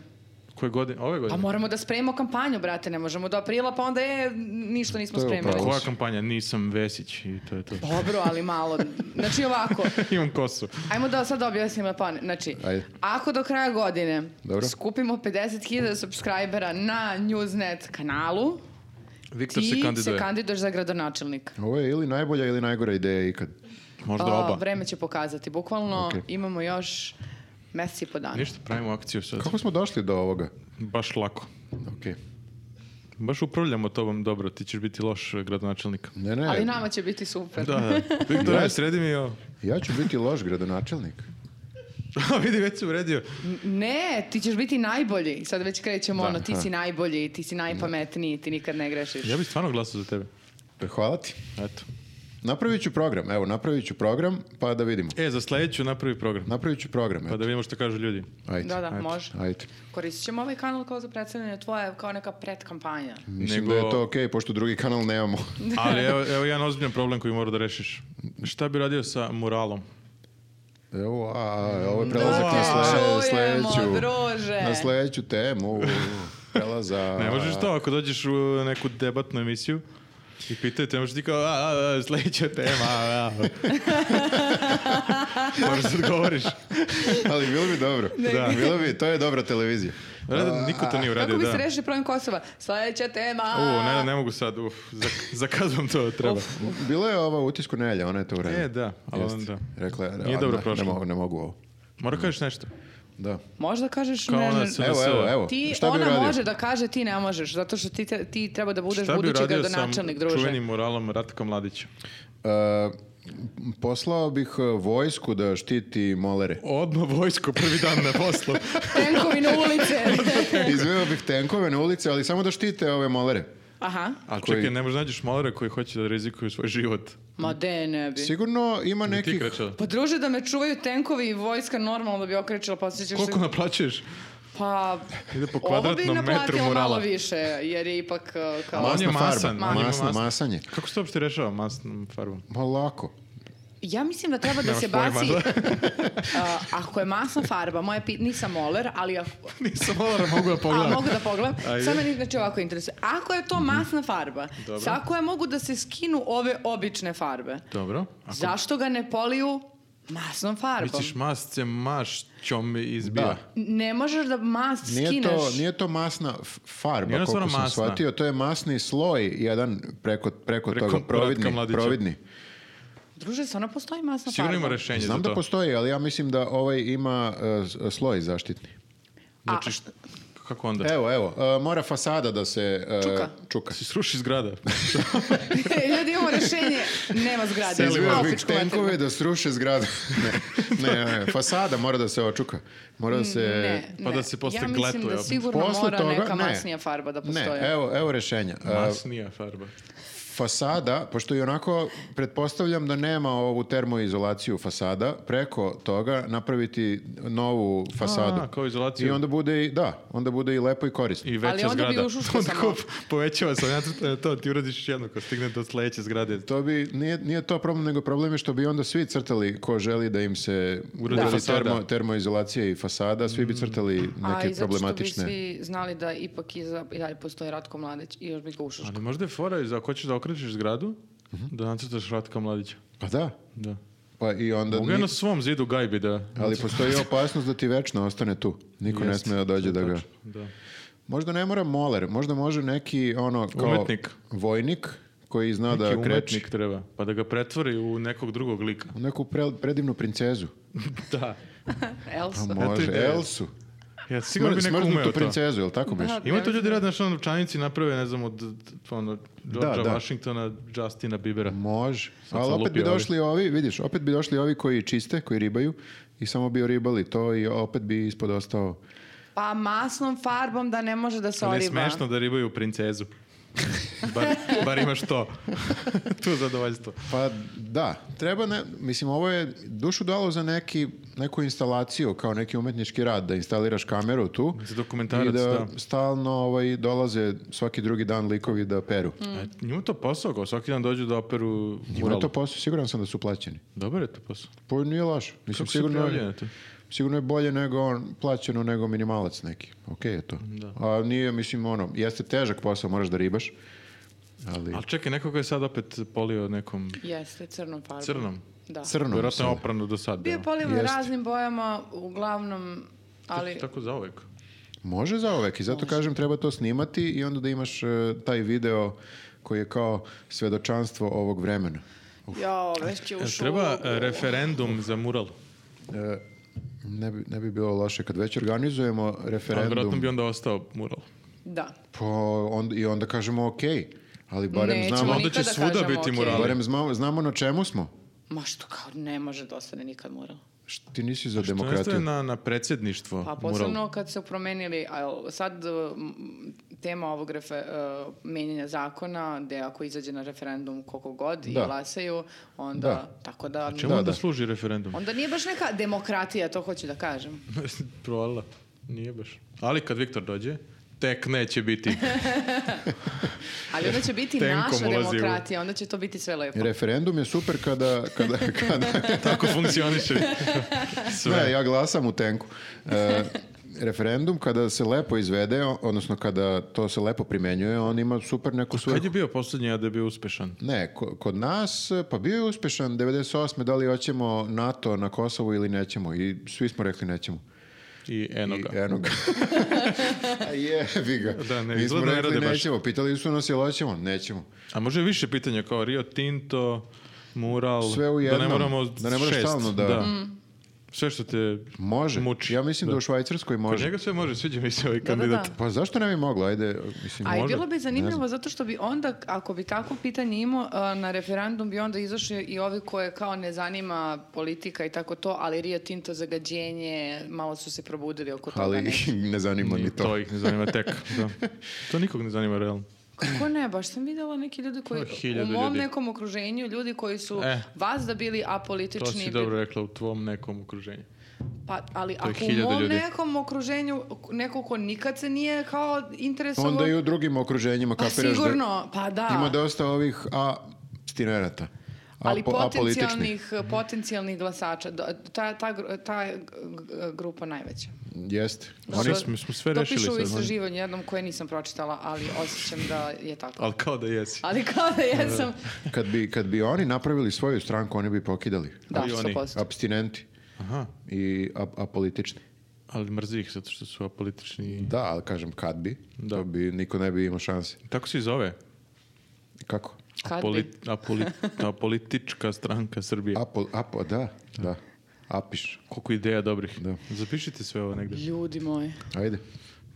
C: Koje godine? Ove
B: Pa
C: godine?
B: moramo da spremimo kampanju, brate, ne možemo do aprila, pa onda je ništa nismo
A: To je
B: spremili.
A: upravo.
C: Koja kampanja? Nisam Vesić i to je to.
B: Dobro, ali malo. Znači ovako,
C: [laughs] Imam kosu.
B: ajmo da sad objasnimo plan. Znači,
A: Ajde.
B: ako do kraja godine
A: Dobro.
B: skupimo 50.000 subscribera na Newsnet kanalu,
C: Viktor se
B: ti se
C: kandiduje.
B: kandiduješ za gradonačelnika.
A: Ovo je ili najbolja ili najgora ideja ikad.
C: Možda
B: A,
C: oba.
B: Vreme će pokazati. Bukvalno
A: Ok.
B: imamo još mesec i po dana.
C: Ništa, pravimo akciju sad.
A: Kako smo došli do ovoga?
C: Baš lako.
A: Ok.
C: Baš upravljamo tobom dobro, ti ćeš biti loš eh, gradonačelnik.
A: Ne, ne,
B: Ali nama će biti super.
C: Da, da.
A: [laughs]
C: Viktor,
A: Ja-
C: ja. sredi mi ovo. [laughs]
A: ja ću biti loš gradonačelnik.
C: A vidi, već se uredio.
B: Ne, ti ćeš biti najbolji. Sad već krećemo
C: Da,
B: ono, ti
A: da.
B: si najbolji, ti si najpametniji, ti nikad ne grešiš.
C: Ja bih stvarno glasao za tebe.
A: Hvala ti.
C: Eto.
A: Napravit ću program, evo, napravit ću program, pa da vidimo.
C: E, za sledeću napravi program.
A: Napravit ću program,
C: Pa
A: evo.
C: da vidimo što kažu ljudi.
A: Ajde.
B: Da, da, može.
A: Ajde.
B: Koristit ćemo ovaj kanal kao za predstavljanje tvoje, kao neka predkampanja.
A: Mislim
C: Nego-
A: da je to okej, pošto drugi kanal nemamo.
C: Ali evo, evo jedan ozbiljan problem koji mora da rešiš. Šta bi radio sa muralom?
A: [laughs] Evo, a, ovo je
B: Da,
A: prelazak na sle-
B: čujemo,
A: sledeću-
B: druže.
A: Na sledeću temu. Prelaza...
C: Ne možeš to, ako dođeš u neku debatnu emisiju i pitaju te, možeš ti kao, a, a, a, sledeća tema, a, a. Moraš da odgovoriš.
A: [laughs] Ali bilo bi dobro.
C: Da.
A: Bilo bi, to je dobra televizija.
C: Da, niko to nije uradio,
B: Kako bi
C: da.
B: se rešio problem Kosova? Sledeća tema.
C: U, ne, ne mogu sad, uf, zak- zakazujem to, treba.
A: Bilo je ova utisku nelja, ona je to uradila.
C: E, da, ali onda...
A: Rekla je,
C: Nije
A: "A,
C: dobro
A: ne,
C: prošlo."
A: Ne mogu, ne mogu ovo.
C: Mora kažeš nešto.
A: Da.
B: Možda kažeš
C: Kao
B: ne,
C: ona
B: ne,
C: sa-
A: Evo,
C: se-
A: evo, evo.
B: Ti,
A: Šta bi
B: ona
A: uradio?
B: može da kaže, ti ne možeš, zato što ti, te- ti treba da budeš
C: Šta bi
B: budući
C: uradio sam
B: gradonačelnik, druže.
C: čuvenim moralom Ratka Mladića?
A: E, poslao bih e, vojsku da štiti molere.
C: Odmah vojsko, prvi dan na poslu.
B: Tenkovi na
C: [laughs]
B: ulice.
A: Izveo bih tenkove na ulici, ali samo da štite ove molere.
B: Aha.
C: Ali
A: Koji-
C: čekaj, ne možeš nađeš malera koji hoće da rizikuju svoj život.
B: Ma de ne bi.
A: Sigurno ima
C: I ti
A: nekih...
C: krećala.
B: Pa druže da me čuvaju tenkovi i vojska normalno da bi okrećila, pa osjećaš
C: Koliko
B: se...
C: naplaćuješ?
B: Pa,
C: Ide po
B: ovo bi
C: kvadratnom metru
B: naplatila malo
C: morala.
B: više, jer je ipak uh, kao...
C: Ma, on je
A: Masna farba.
C: masan, on je
A: Masno,
C: masan.
A: masanje.
C: Kako se to uopšte rešava masnom farbom?
A: Ma lako.
B: Ja mislim da treba da se
C: Nemaš
B: baci...
C: pojma,
B: A, ako je masna farba, moje pit, nisam moler, ali ako...
C: [laughs] Nisam molara, mogu [laughs] da
B: A
C: pogledam.
B: mogu da pogledam.
C: Ajde. Mhm.
B: Samo meni znači ovako interesuje. Ako je to masna farba,
C: Dobro.
B: sa koje mogu da se skinu ove obične farbe?
C: Dobro. Ako
B: Zašto ga ne poliju masnom farbom?
C: Misliš mast se mašćom izbija.
A: Da.
B: Ne možeš da mast
A: Nije
B: skineš.
A: to, nije to masna f- farba,
C: Nije ona
A: koliko
C: stvarno
A: sam
C: masna.
A: shvatio. To je masni sloj, jedan preko, preko,
C: Preko
A: toga, providni.
C: Ratka Mladića.
A: providni.
B: Druže, stvarno postoji masna
C: Sigurno
B: [laughs]
C: ima
B: farba.
C: rešenje
A: Znam
C: za
A: da
C: to.
A: postoji, ali ja mislim da ovaj ima e, s- sloj zaštitni.
C: Znači, št- kako onda?
A: Evo, evo, e, mora fasada da se... e,
B: Čuka.
A: Čuka.
C: Si sruši zgrada.
B: E, Ljudi, imamo rešenje. Nema zgrade.
A: Izveo
B: Malo
A: bih
B: pičku
A: tenkove
B: materinu.
A: da sruše zgradu. [laughs] ne, ne, ne, fasada mora da se očuka. Mora da se...
B: Ne,
C: pa
B: ne.
C: da se posle
B: Ja mislim
C: gletuje
B: da
C: opet.
B: sigurno
A: Posle
B: mora
A: toga,
B: neka
A: ne.
B: masnija farba da
A: Ne,
B: postoji.
A: evo, evo rešenja. E,
C: Masnija farba.
A: fasada, pošto i onako pretpostavljam da nema ovu termoizolaciju fasada, preko toga napraviti novu fasadu.
C: A, kao izolaciju.
A: I onda bude i, da, onda bude i lepo i korisno.
C: I veća
B: Ali onda bi
C: zgrada.
B: ušuškao
C: [laughs] Onda
B: samo.
C: kao povećava se, nacrtano je to, ti uradiš još jedno, ko stigne do sledeće zgrade.
A: To bi, nije, nije to problem, nego problem je što bi onda svi crtali ko želi da im se
C: Uradi
A: uradi
C: fasada. Mm.
A: termo, termoizolacija i fasada, svi bi crtali
B: A
A: neke
B: i zato što bi
A: problematične.
B: svi znali da ipak iza, i dalje postoji Ratko Mladić i još bi ga ušuškao.
C: Ali možda je fora, i za ako hoćeš da okrećeš zgradu,
A: Mhm.
C: da nacrtaš Ratka Mladića.
A: Pa da,
C: Da.
A: pa i onda...
C: Mogu ja
A: ni-
C: na svom zidu gajbi da...
A: Ali postoji opasnost da ti večno ostane tu. Niko ne
C: Jeste,
A: sme da dođe da ga...
C: Da.
A: Možda ne mora moler, možda može neki ono kao
C: Umetnik.
A: vojnik koji zna
C: Neki
A: da kreči.
C: Znači, umetnik treba, pa da ga pretvori u nekog drugog
A: [laughs]
C: lika.
A: Neku pre- predivnu princezu.
C: da.
B: Elsa.
A: Pa može,
C: ideja.
A: Elsu.
C: Ja sigurno bi
A: Smr-
C: neko umeo
A: smrznutu
C: to.
A: princezu, jel tako biš?
B: Da,
C: Ima to ljudi rade, znaš, ono, čanici naprave, ne znam, od ono, Georgea
A: da.
C: Washingtona, Justina Biebera.
A: Može.
C: Sad sam
A: Ali opet bi
C: lupio ovi.
A: došli ovi, vidiš, opet bi došli ovi koji čiste, koji ribaju i samo bi oribali to i opet bi ispod ostao.
B: Pa masnom farbom da ne može da se
C: Ali je
B: oriba.
C: smešno da ribaju
A: [laughs]
C: princezu. bar, bar imaš to. tu zadovoljstvo.
A: Pa da, treba ne, mislim ovo je dušu dalo za neki, neku instalaciju, kao neki umetnički rad, da instaliraš kameru tu
C: Za dokumentarac,
A: i da,
C: da.
A: stalno ovaj, dolaze svaki drugi dan likovi da peru.
B: Mm.
C: A, E, njima to posao, kao svaki dan dođu da operu
A: Ima
C: mural.
A: to posao, siguran sam da su plaćeni.
C: Dobar je to posao.
A: Pa nije laž. Mislim,
C: Kako se
A: sigurno,
C: prijavljaju
A: je,
C: na to?
A: sigurno je bolje nego on, plaćeno nego minimalac neki. Ok je to. A nije, mislim, ono, jeste težak posao, moraš da ribaš. Ali
C: Ali čekaj, neko ga je sad opet polio nekom
B: Jeste, crnom farbom.
C: crnom.
B: Da.
A: crno.
C: Vjerojatno
A: mislim.
C: je oprano do sad.
B: Bio je
C: bilo.
B: polivan
A: Jeste.
B: raznim bojama, uglavnom, ali...
C: Tako zauvek.
A: Može zauvek i zato kažem treba to snimati i onda da imaš e, taj video koji je kao svedočanstvo ovog vremena. E,
B: Jo, već će u
C: Jel
B: šumu.
C: Treba e, referendum za mural.
A: E, ne, bi, ne bi bilo loše kad već organizujemo
C: Ali Vjerojatno
A: referendum.
C: bi onda ostao mural.
B: Da.
A: Pa, onda, I onda kažemo ok, ali barem
B: Nećemo
A: znamo,
C: Onda će
B: nikada
C: svuda
B: kažemo,
C: biti
B: okej.
C: murali.
A: barem znamo, znamo na čemu smo.
B: Ma što kao, ne može da ostane nikad mural.
A: Št- Ti nisi za
C: Što je
A: demokratiju.
C: na, na predsjedništvo
B: Pa
C: mural?
B: posebno kad su promenili, a jel sad m, tema ovog refe, e, menjanja zakona, gde ako izađe na referendum koliko god i
A: Da.
B: glasaju, onda,
A: Da.
B: tako da...
C: Čemu
A: Da,
C: onda
A: da.
C: služi referendum? [laughs]
B: Onda nije baš neka demokratija, to hoću da kažem.
C: Provalila. Nije baš. Ali kad Viktor dođe, tek neće biti.
B: Ali onda će biti
C: Tenkom
B: naša
C: ulazi u-
B: demokratija, onda će to biti sve lepo.
A: Referendum je super kada, kada, kada [laughs]
C: Tako funkcioniše sve.
A: Ne, ja glasam u tenku. E, referendum kada se lepo izvede, o- odnosno kada to se lepo primenjuje, on ima super neku
C: Kad je
A: svrhu.
C: bio posljednji a da je bio uspešan?
A: Ne, ko- kod nas, e, pa bio je uspešan 98. da li hoćemo NATO na Kosovu ili nećemo. I svi smo rekli nećemo.
C: I enoga.
A: I
B: [laughs]
A: eno ga. A Jebi ga.
C: Da, ne,
A: Mi smo
C: izgleda ne
A: rekli
C: rade baš.
A: nećemo. Pitali su nas jel hoćemo? Nećemo.
C: A može više pitanja kao Rio Tinto, mural,
A: Sve u jednom.
C: da ne moramo
A: Da ne moraš
C: šest.
A: stalno da-
B: Mm.
C: Sve što te
A: Može.
C: muči.
A: Ja mislim da, u Švajcarskoj
C: Kod
A: može.
C: njega sve može, sviđa mi se ovaj
B: da,
C: kandidat.
B: da.
A: Pa zašto ne bi mogla? Ajde, mislim,
B: A i
C: Može.
B: bilo bi
A: Ne
B: zanimljivo zato što bi onda, ako bi takvo pitanje imao, a, na referendum bi onda izašli i ovi koje kao ne zanima politika i tako to, ali Rio Tinto zagađenje, malo su se probudili oko toga.
A: ali
B: ne.
A: [laughs] ne zanima ni to.
C: To ih ne zanima tek. Da.
A: [laughs]
C: To nikog ne zanima realno.
B: Kako ne, baš sam vidjela neki ljudi koji,
C: Pa, hiljadu
B: u mom
C: ljudi.
B: nekom okruženju, ljudi koji su
C: E.
B: vas da bili
C: To
B: apolitični.
C: si
B: bi-
C: dobro rekla u tvom nekom okruženju.
B: Pa, ali
C: je
B: ako u
C: hiljadu
B: mom
C: ljudi.
B: nekom okruženju, neko ko nikad se nije kao interesovao...
A: Onda i u drugim okruženjima
B: Pa
A: kapiraš da-
B: sigurno, pa da.
A: Ima dosta ovih a stinerata.
B: ali
A: Apo- apolitičnih.
B: potencijalnih, potencijalnih glasača, da- ta, ta, gru- ta g- g- grupa najveća.
A: Jeste.
C: Oni
B: To-
C: smo- smo sve
B: to
C: rešili
B: piše u
C: sad, može.
B: istraživanju jednom koje nisam pročitala, ali osjećam da je tako.
C: Ali kao da jesi.
B: Ali kao da jesam...
A: Kad bi, kad bi oni napravili svoju stranku, oni bi pokidali.
B: Da,
C: Ali oni-
B: 100%.
A: Abstinenti
C: Aha.
A: i ap- apolitični.
C: Ali mrzi ih zato što su apolitični. i-
A: Da, ali kažem kad bi,
C: Da.
A: to bi niko ne bi imao šanse.
C: Tako se i zove.
A: Kako?
B: Kad bi?
C: Apoli-
B: [laughs]
C: apoli- apolitička stranka Srbije.
A: Apo, apo, da, da. Apiš.
C: Koliko ideja dobrih.
A: Da.
C: Zapišite sve ovo negdje.
B: Ljudi moji.
A: Ajde.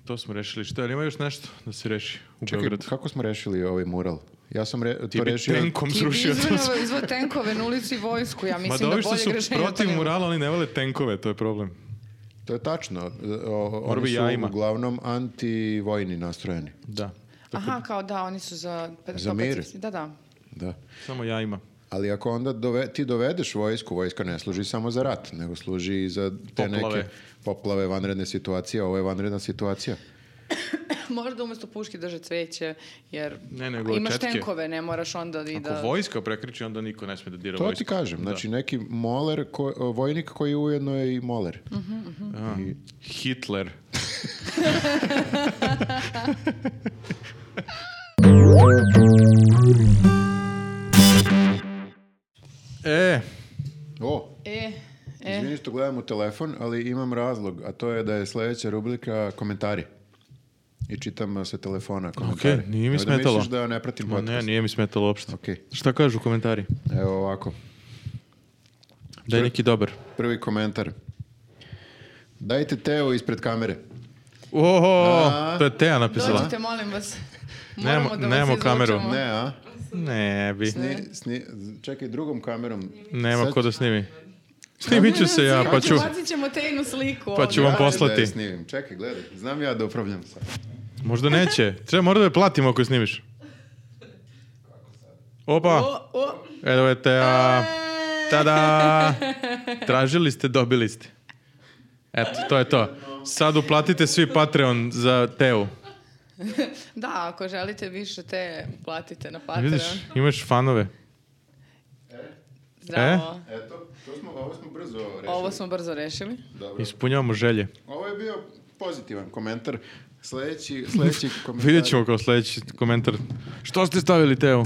C: To smo rešili. Šta, ali ima još nešto da se reši u
A: Čekaj,
C: Beogradu?
A: kako smo rešili ovaj mural? Ja sam re-
C: Ti
A: to
C: bi
A: rešio...
C: tenkom
B: Ti bi
C: srušio to sve.
B: izveo, izveo tenkove na ulici i vojsku, ja
C: Ma
B: mislim
C: da
B: da
C: ovi što
B: bolje
C: su
B: grešenje.
C: protiv murala, oni ne vole tenkove, to je problem.
A: To je tačno. O- o-
C: Mora
A: Oni
C: bi
A: su
C: jajima.
A: uglavnom antivojni nastrojeni.
C: Da.
B: Aha, kao da, oni su za...
A: Za mir.
B: pacifist- Da, da.
A: Da.
C: Samo ja ima.
A: Ali ako onda dove, ti dovedeš vojsku, vojska ne služi samo za rat, nego služi i za te
C: Poplave.
A: neke poplave, vanredne situacije, a ovo je vanredna situacija.
B: Možda umjesto puške drže cveće, jer
C: Ne, nego
B: imaš
C: četke.
B: tenkove, ne moraš onda i
C: Ako
B: da...
C: vojska prekriči, onda niko ne smije da dira
A: To
C: vojsku.
A: ti kažem, znači neki moler, ko, vojnik koji ujedno je i moler.
C: Da.
A: [laughs]
C: Hitler. e,
A: O,
B: E, e.
A: izvini što gledam u telefon, ali imam razlog, a to je da je sljedeća rubrika komentari. I čitam a, sa telefona komentari.
C: Okej, nije mi
A: Nemoj Da
C: smetalo.
A: misliš da ne pratim
C: ma
A: podcast.
C: ne, nije mi smetalo uopšte.
A: Okej.
C: Šta kažu komentari?
A: Evo ovako.
C: Da je neki dobar.
A: Prvi komentar. Dajte Teo ispred kamere.
C: Oho,
A: A.
C: to je Teja napisala.
B: Dođite, molim vas.
C: Nemo-
B: Moramo da vas
C: nemo kameru.
B: izvučemo.
A: Ne, a?
C: Ne bi.
A: Sni, sni, čekaj, drugom kamerom.
C: Nema
A: Sad-
C: ko da snimi. Snimit ću se ja, pa ću...
B: Bacit ćemo Tejnu sliku
C: Pa
B: ovdje.
C: ću vam
A: Ja ću
C: poslati.
A: da je snimim. Čekaj, gledaj. Znam ja da upravljam sad.
C: Možda neće. Treba, mora da je platimo ako je snimiš. Opa!
B: O, o. e.
C: Evo je te, a, tada! Tražili ste, dobili ste. Eto, to je to. Sad uplatite svi Patreon za Teu.
B: [laughs] Da, ako želite više te, platite na Patreon.
C: Vidiš, imaš fanove.
B: Zdravo.
C: E?
A: Eto, to smo, ovo smo brzo rešili.
B: Ovo smo brzo rešili.
A: Dobro.
C: Ispunjavamo želje.
A: Ovo je bio pozitivan komentar.
C: [laughs]
A: Sljedeći, sljedeći komentar.
C: Vidjet ćemo kao sljedeći komentar. Što ste stavili
B: [laughs]
C: Teu?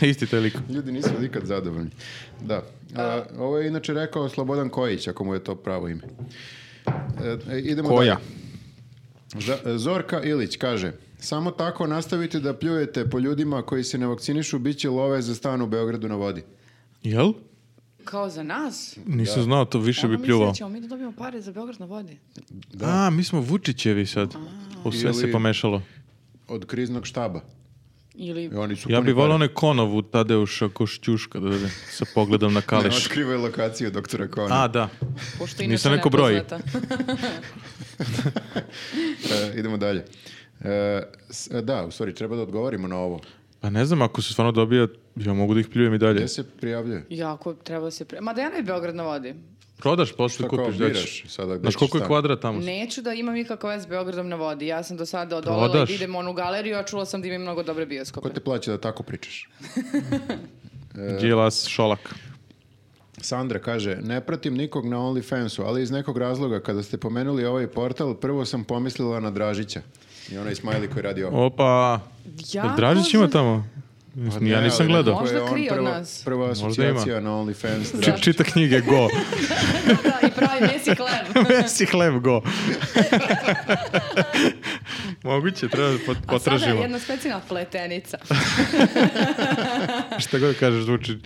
C: Isti taj lik.
A: Ljudi nisu nikad zadovoljni. Da. A, ovo je inače rekao Slobodan Kojić, ako mu je to pravo ime. E, idemo
C: Koja?
A: dalje. Za- Zorka Ilić kaže Samo tako nastavite da pljujete po ljudima koji se ne vakcinišu, bit će love za stan u Beogradu na vodi.
C: Jel?
B: Kao za nas.
C: Nisam znao to, više
B: Ono
C: bi
B: misli da
C: pljuvao.
B: ćemo mi da dobijemo pare za Beograd na vodi.
C: A, mi smo Vučićevi sad. U sve se
A: Ili-
C: pomešalo.
A: Od kriznog štaba.
B: Ili
A: I oni su
C: Ja
A: puni
C: bih volao
A: para.
C: one Konovu Tadeuša Košćuška da da- sa pogledom na
A: Ne
C: Kališ.
A: otkrivaj lokaciju doktora Kona.
C: A, da.
B: pošto inače
C: Nisam rekao broj.
B: nepoznata. [laughs]
A: E, idemo dalje. E, s- e, da, u stvari, treba da odgovorimo na ovo.
C: Pa ne znam, ako se stvarno dobija, ja mogu da ih pljujem i dalje.
A: Gde se prijavljuje?
B: Jako treba se... Pre... Ma da ja ne Beograd na vodi.
C: Prodaš posle,
A: Šta kao
C: kupiš, da
A: biraš sada gde
C: Znaš
A: ćeš
C: koliko je
A: stan?
C: kvadrat tamo?
B: Neću da imam nikakav vez s Beogradom na vodi. Ja sam do sada
C: Pa
B: odolela i
C: Prodaš.
B: da idem u onu galeriju, a čula sam da ima mnogo dobre bioskope.
C: Pa
A: Ko te plaća da tako pričaš?
C: Đilas, Šolak.
A: Sandra kaže, ne pratim nikog na OnlyFansu, ali iz nekog razloga kada ste pomenuli ovaj portal, prvo sam pomislila na Dražića. I onaj smajli koji radi ovo.
C: Opa,
B: Jako
C: Jel pa Dražić ima
B: za-
C: tamo? ja
A: Pa ne,
C: nisam
A: ali
C: gledao.
A: nekako je
B: Možda
A: on
B: krije od
A: prva-
B: nas.
A: Prva
C: Možda
A: asocijacija na OnlyFans
C: Či-
A: Dražić.
C: Čita knjige,
A: [laughs]
C: go.
B: da, i pravi mesi
C: [laughs]
B: hleb.
C: Mesi hleb, go. [laughs] Moguće, treba da pot-
B: A sada je
C: potražimo.
B: jedna specijalna
C: [laughs]
B: pletenica. E,
C: Šta god kažeš, zvuči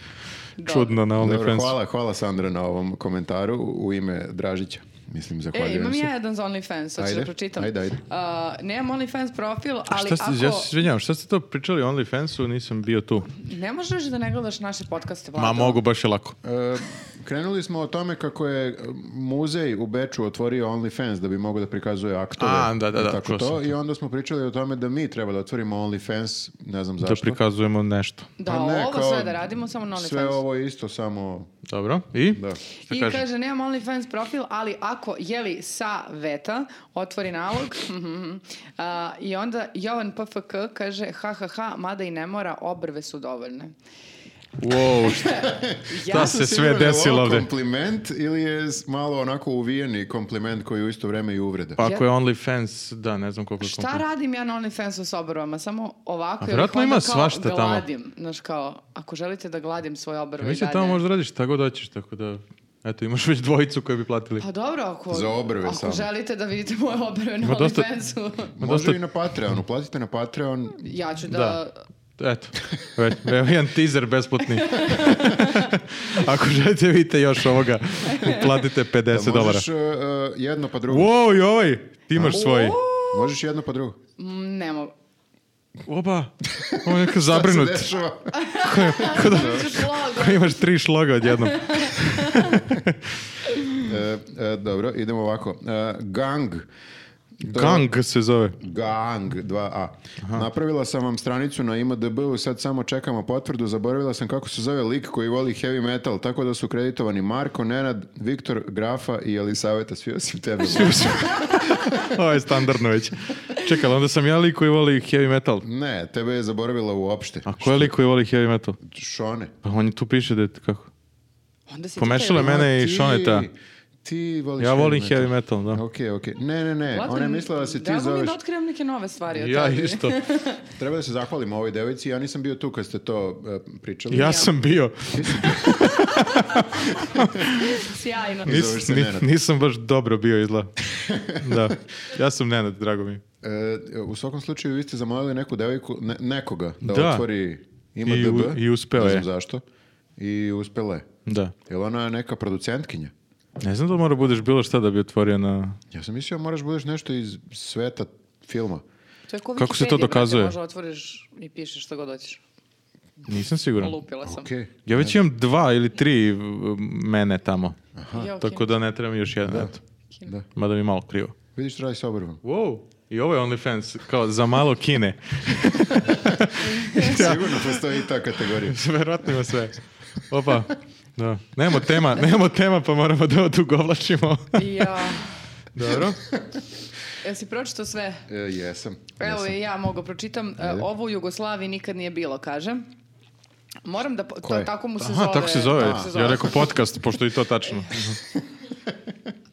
B: Dobro.
C: čudno na
A: Dobro,
C: OnlyFans.
A: hvala, hvala Sandra na ovom komentaru u ime Dražića. Mislim,
B: E,
A: zahvaljujem
B: imam
A: se.
B: ja jedan za OnlyFans, hoćeš da
A: Ajde,
B: pročitam.
A: ajde, ajde.
B: A, nemam OnlyFans profil, ali
C: Šta ste,
B: ako...
C: ja se izvinjavam, šta ste to pričali o OnlyFansu, nisam bio tu.
B: Ne možeš da ne gledaš naše podcaste, Vlado.
C: Ma mogu, baš je lako.
A: E, krenuli smo o tome kako je e, muzej u Beču otvorio OnlyFans da bi mogao da prikazuje aktove.
C: A, da, da, da,
A: i tako
C: čuo sam
A: to.
C: to.
A: I onda smo pričali o tome da mi treba da otvorimo OnlyFans, ne znam
C: Da
A: zašto.
C: prikazujemo nešto.
B: Da,
A: Pa ne,
B: ovo
A: kao
B: sve da radimo, samo na OnlyFans.
A: Sve ovo je isto, samo...
C: Dobro, i?
A: Da.
C: Šta
B: I
C: kaže?
B: kaže, nemam OnlyFans profil, ali ako, jeli, sa veta, otvori nalog, [laughs] mhm, a, i onda Jovan PFK kaže, ha, ha, ha, mada i ne mora, obrve su dovoljne.
C: Wow, šta
B: [laughs] Ja,
C: se sve desilo
A: ovdje.
C: ovde.
A: kompliment ili je s- malo onako uvijeni kompliment koji je u isto vreme i uvreda?
C: Pa ako je OnlyFans, da, ne znam koliko je
B: šta
C: kompliment.
B: radim ja na OnlyFansu s obrvama? Samo ovako,
C: A
B: jer ih
C: vjerojatno
B: onda
C: ima
B: kao
C: svašta tamo.
B: gladim. Znaš, kao, ako želite da gladim svoje obrve i
C: Mislim,
B: dalje.
C: tamo možda radiš šta god hoćeš, tako da... Eto, imaš već dvojicu koje bi platili.
B: Pa dobro, ako,
A: Za obrve
B: ako
A: samo.
B: želite da vidite moje obrve na
C: Ima dosta-
B: OnlyFansu, [laughs]
C: Ma
A: Može
C: pa dosta-
A: i na Patreon, uplatite na Patreon.
B: ja ću da...
C: Da. Eto, već, evo jedan teaser
B: [laughs]
C: besplatni. Ako želite vidite još ovoga, uplatite 50
A: Da
C: dolara.
A: možeš e, e, jedno pa drugo.
C: Wow, i ovaj, ti imaš svoj.
A: Možeš jedno pa drugo.
B: Mm, Ne
C: [laughs]
B: mogu.
C: Oba, ovo je neko
A: Šta se
C: zabrinut.
A: dešava? [laughs]
C: Ko imaš tri šloga odjednom.
A: E, e, dobro, idemo ovako. E, gang. [laughs] To-
C: Gang se zove.
A: Gang 2A. Napravila sam vam stranicu na IMDB-u, sad samo čekamo potvrdu. Zaboravila sam kako se zove lik koji voli heavy metal, tako da su kreditovani Marko, Nenad, Viktor, Grafa i Elisaveta, svi osim tebe.
C: Ovo je standardno već. Čekaj, ali onda sam ja lik koji voli heavy metal.
A: ne, tebe je zaboravila uopšte.
C: A ko je lik koji voli heavy metal?
A: Šone.
C: Pa on je tu piše da je kako.
B: Onda si
C: Pomešala je
B: čekaj,
C: mene i
A: Ti-
C: Šoneta.
A: Ti voliš
C: Ja volim heavy metal, da.
A: Ok, ok. Ne, ne, ne.
B: Vladan,
A: Ona je mislila E, da se ti
B: Drago mi je
A: zoveš...
B: da otkrivam neke nove stvari. o [laughs]
C: Ja
B: tebi.
A: [laughs]
C: isto.
A: Treba da se zahvalimo ovoj devojci. Ja nisam bio tu kad ste to e, pričali.
C: Ja sam bio.
B: Sjajno.
A: Nis- zoveš se
C: ni-
A: Nenad.
C: nisam baš dobro bio
A: [laughs]
C: izla. Da. Ja sam Nenad, drago mi.
A: E, u svakom slučaju vi ste zamolili neku devojku, ne- nekoga da,
C: Da.
A: otvori ima
C: I u-
A: DB.
C: i uspeo
A: ne znam
C: je.
A: zašto. I uspela je.
C: Da.
A: Jel ona neka producentkinja?
C: Ne znam da mora budeš bilo šta da bi otvorio na...
A: Ja sam mislio moraš budeš nešto iz sveta filma.
B: To je ko
C: Kako se to
B: Wikipedia, brate,
C: dokazuje?
B: Možda otvoriš i pišeš što god hoćeš.
C: Nisam siguran.
B: Lupila sam.
A: Okej.
C: Ja već imam dva ili tri um, mene tamo.
A: pa-
B: Ja, okej.
C: Tako da ne treba mi još jedan. eto.
A: Da.
C: Mada mi je malo krivo.
A: Vidiš šta radi sa obrvom.
C: Wow. I ovo je OnlyFans, kao za malo kine.
A: Sigurno postoji i ta kategorija.
C: [laughs] Verovatno ima sve. Opa. Da. Nemamo
B: [laughs]
C: tema, nemamo tema pa moramo da odugovlačimo.
B: I ja,
C: [laughs] Dobro.
B: jesi pročito sve? Pa
A: E, jesam.
B: Evo
A: jesam.
B: i ja mogu pročitam. E, Ovo u Jugoslaviji nikad nije bilo, kaže. Moram da... po-
A: Ko je?
B: To, tako mu se
C: Aha,
B: zove.
C: tako se zove.
B: tako se zove.
C: Ja rekao podcast, pošto je i to tačno.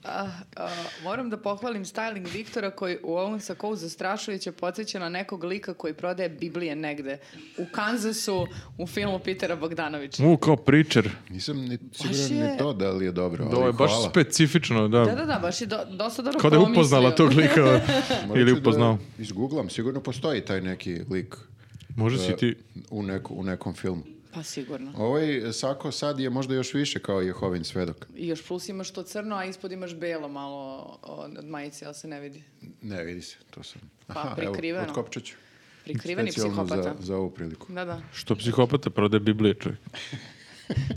B: A, E, moram da pohvalim styling Viktora koji u ovom sakou zastrašujuće podsjeća na nekog lika koji prodaje Biblije negde. U Kanzasu, u filmu Pitera Bogdanovića.
C: [laughs] U, kao pričer.
A: Nisam ni, siguran
B: je-
A: ni to da li je dobro.
C: Da, ovo je
A: ali
C: baš
A: hvala.
C: specifično, da.
B: Da, da, da, baš je do, dosta dobro
C: Pa Kao da je
B: promislio.
C: upoznala tog
B: [laughs]
C: lika
A: Morat ću
C: ili
A: da
C: upoznao.
A: Izgooglam, sigurno postoji taj neki lik e,
C: Može si ti...
A: u, neko, u nekom filmu.
B: Pa sigurno.
A: Ovaj Sako sad je možda još više kao Jehovin svedok.
B: I još plus imaš to crno, a ispod imaš belo malo od od majice, ali se ne vidi.
A: Ne, vidi se, to sam.
B: Pa, prikriveno.
A: Evo, otkopčat ću.
B: Prikriveni
A: Specijalno
B: psihopata.
A: Za, za ovu priliku.
B: Da, da. [laughs]
C: Što psihopata prodaje Biblije, čovjek.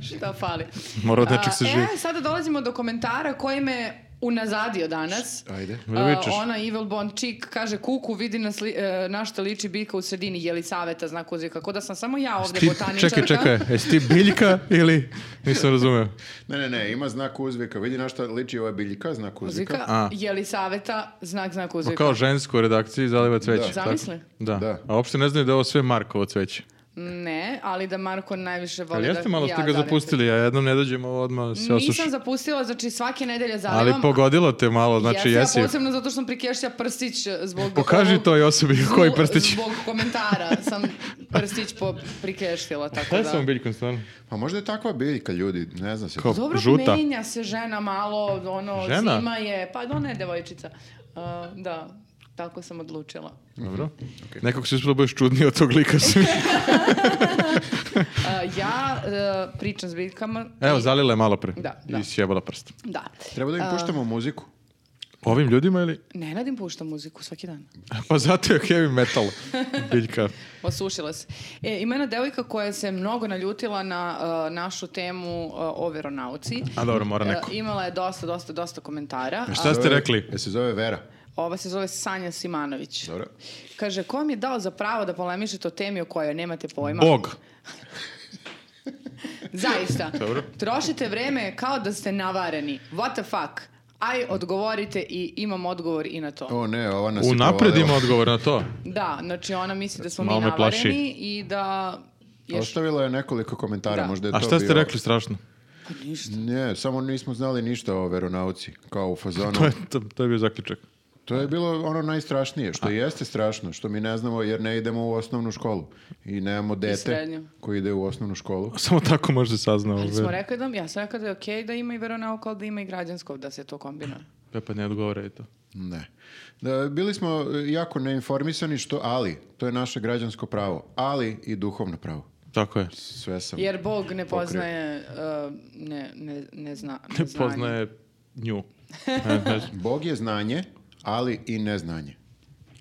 B: Šta e, fali?
C: Mora od
B: A,
C: nečeg se živi.
B: E, sada dolazimo do komentara koji me unazadio danas.
A: Ajde.
C: Ma da
B: A,
C: vičeš.
B: ona Evil Bond chick kaže kuku, vidi nas li, e, na šta liči biljka u sredini, je li saveta znak uzvika. Kako da sam samo ja ovde
C: Ti,
B: botaničarka.
C: čekaj, čekaj, jesi ti biljka ili... Nisam razumeo.
A: Ne, ne, ne, ima znak uzvika. Vidi na šta liči ova biljka, znak uzvika.
B: Uzvika,
C: A.
B: je li saveta znak znak
C: Pa
B: uzvika.
C: kao žensko u redakciji zaliva cveće.
A: Da.
C: tako?
B: Zamisli.
C: Da.
A: Da.
C: A uopšte ne znaju da je ovo sve Markovo cveće.
B: Ne, ali da Marko najviše voli
C: Ali
B: da
C: jeste malo
B: ja
C: ste ga
B: zalim.
C: zapustili, ja jednom ne dođem ovo odmah se osuši.
B: Nisam zapustila, znači svake nedelje zalivam.
C: Ali pogodilo te malo, znači
B: Jesi,
C: jesi.
B: ja posebno zato što sam prikešlja prstić e, zbog...
C: Pokaži
B: ovog-
C: toj osobi koji
B: zbog-
C: prstić.
B: Zbog komentara sam prstić po, prikeštila, tako
C: E, Šta je s ovom
B: da...
C: biljkom stvarno?
A: Pa možda je takva biljka, ljudi, ne zna se.
C: Kao
B: Dobro,
C: žuta.
B: menja se žena malo, ono,
C: Žena?
B: zima je, pa ona je devojčica. A, da, tako sam odlučila.
C: Dobro. Nekako si uspjela budeš čudniji od tog
B: [laughs]
C: lika. svi.
B: A, Eh, ja e, pričam s biljkama.
C: Evo,
B: i-
C: zalila je malo pre.
B: Da, da.
C: I sjebala prst.
B: Da.
A: Treba da im puštamo muziku.
C: Ovim ljudima ili? [laughs]
B: Ne radim pušta muziku svaki dan.
C: Pa zato je heavy
B: [laughs]
C: metal biljka.
B: Osušila se. E, ima jedna devojka koja se mnogo naljutila na e, našu temu e, o veronauci.
C: A dobro, mora
B: E,
C: neko.
B: imala je dosta, dosta, dosta komentara.
C: A
B: A
C: šta ste
A: Zove-
C: rekli?
A: Je se zove Vera.
B: ova se zove Sanja Simanović.
A: Dobro.
B: Kaže, ko mi je dao za pravo da polemišete o temi o kojoj nemate pojma?
C: Bog.
B: Zaista.
C: [laughs] Dobro.
B: Trošite vreme kao da ste navareni. What the fuck? Aj, odgovorite i imam odgovor i na to.
A: O ne, ova nas je
C: Unapred
A: provalila.
C: ima odgovor na to.
B: Da, znači ona misli da smo
C: Malo
B: mi
C: me plaši.
B: navareni i da... je š-
A: Ostavila je nekoliko komentara,
B: Da.
A: možda je to
C: A šta ste
A: bio-
C: rekli strašno?
B: Pa ništa.
A: Ne, samo nismo znali ništa o veronauci, kao u fazonu.
C: To je, to, to je bio zaključak. [laughs]
A: To je bilo ono najstrašnije, što i jeste strašno, što mi ne znamo jer ne idemo u osnovnu školu i nemamo dete
B: srednju.
A: koji ide u osnovnu školu.
C: Samo tako može se sazna
B: Ali
C: ovo.
B: smo rekli da, ja sam rekla da je okej da ima i veronauka, ali da ima i građansko, da se to kombinuje.
C: E, pa ne odgovore i to.
A: Ne. Da, bili smo e, jako neinformisani što, ali, to je naše građansko pravo, ali i duhovno pravo.
C: Tako je.
A: Sve sam.
B: Jer Bog ne poznaje, uh, ne, ne, ne zna.
C: Ne
B: znanje.
C: poznaje nju. Ne, ne znam.
A: Bog je znanje, ali i neznanje.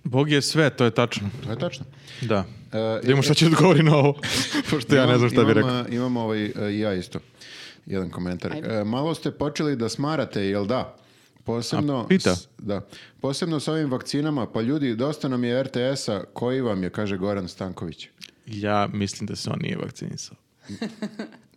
C: Bog je sve, to je tačno.
A: To je tačno.
C: Da.
A: E,
C: Da vidimo šta će odgovori na
A: [laughs]
C: ovo, [laughs] pošto ja ne znam šta bi
A: Imam,
C: rekao.
A: a, Imam ovaj, e, i ja isto. Jedan komentar. E, malo ste počeli da smarate, jel da? Posebno,
C: A, pita.
A: s- da. Posebno s ovim vakcinama, pa ljudi, dosta nam je RTS-a, koji vam je, kaže Goran Stanković.
C: Ja mislim da se on nije vakcinisao.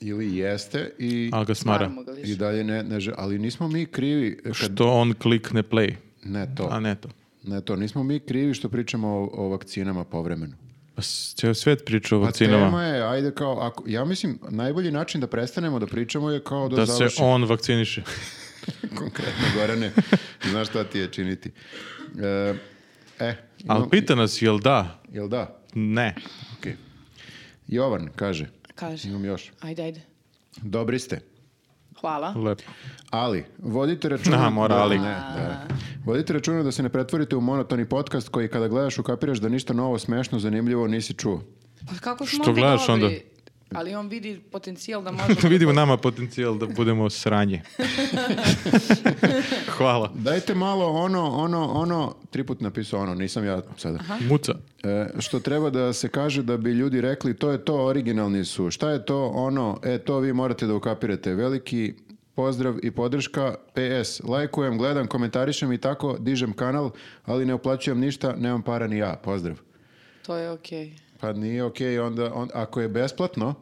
A: Ili jeste i,
C: Ali ga smara.
B: Stvaramo ga više.
A: i dalje ne, ne žel- Ali nismo mi krivi kad...
C: Što on klikne play,
A: Ne to,
C: a ne to.
A: ne to. Nismo mi krivi što pričamo o, o vakcinama povremeno.
C: Pa s- ceo svet priča o
A: Pa tema
C: vakcinama.
A: je, ajde kao, ako, ja mislim, najbolji način da prestanemo da pričamo je kao da,
C: Da se
A: završimo.
C: on vakciniše.
A: Konkretno, Gorane, [laughs] znaš šta ti je činiti. E, e,
C: Ali
A: imam-
C: pita nas, jel da?
A: Jel da?
C: Ne.
A: Okej. Jovan kaže,
B: Kaže.
A: imam još,
B: Ajde, ajde.
A: dobri ste,
B: Hvala.
C: Lepo.
A: ali vodite računa...
C: Aha, mora ali.
A: Ne, da. Vodite računa da se ne pretvorite u monotoni podcast koji kada gledaš ukapiraš da ništa novo, smešno, zanimljivo nisi čuo.
B: Pa kako smo
C: Što
B: onda
C: gledaš
B: dobri?
C: onda?
B: Ali on vidi potencijal
C: [laughs]
B: da možda...
C: Vidimo nama potencijal da budemo sranje. Hvala.
A: Dajte malo ono, ono, ono, triput napisao ono, nisam ja sada.
C: Muca.
A: E, što treba da se kaže da bi ljudi rekli to je to, originalni su. Šta je to ono? E, to vi morate da ukapirate. Veliki pozdrav i podrška. PS, lajkujem, gledam, komentarišem i tako, dižem kanal, ali ne uplaćujem ništa, nemam para ni ja. Pozdrav.
B: To je okej.
A: Pa nije okej, onda, on- ako je besplatno,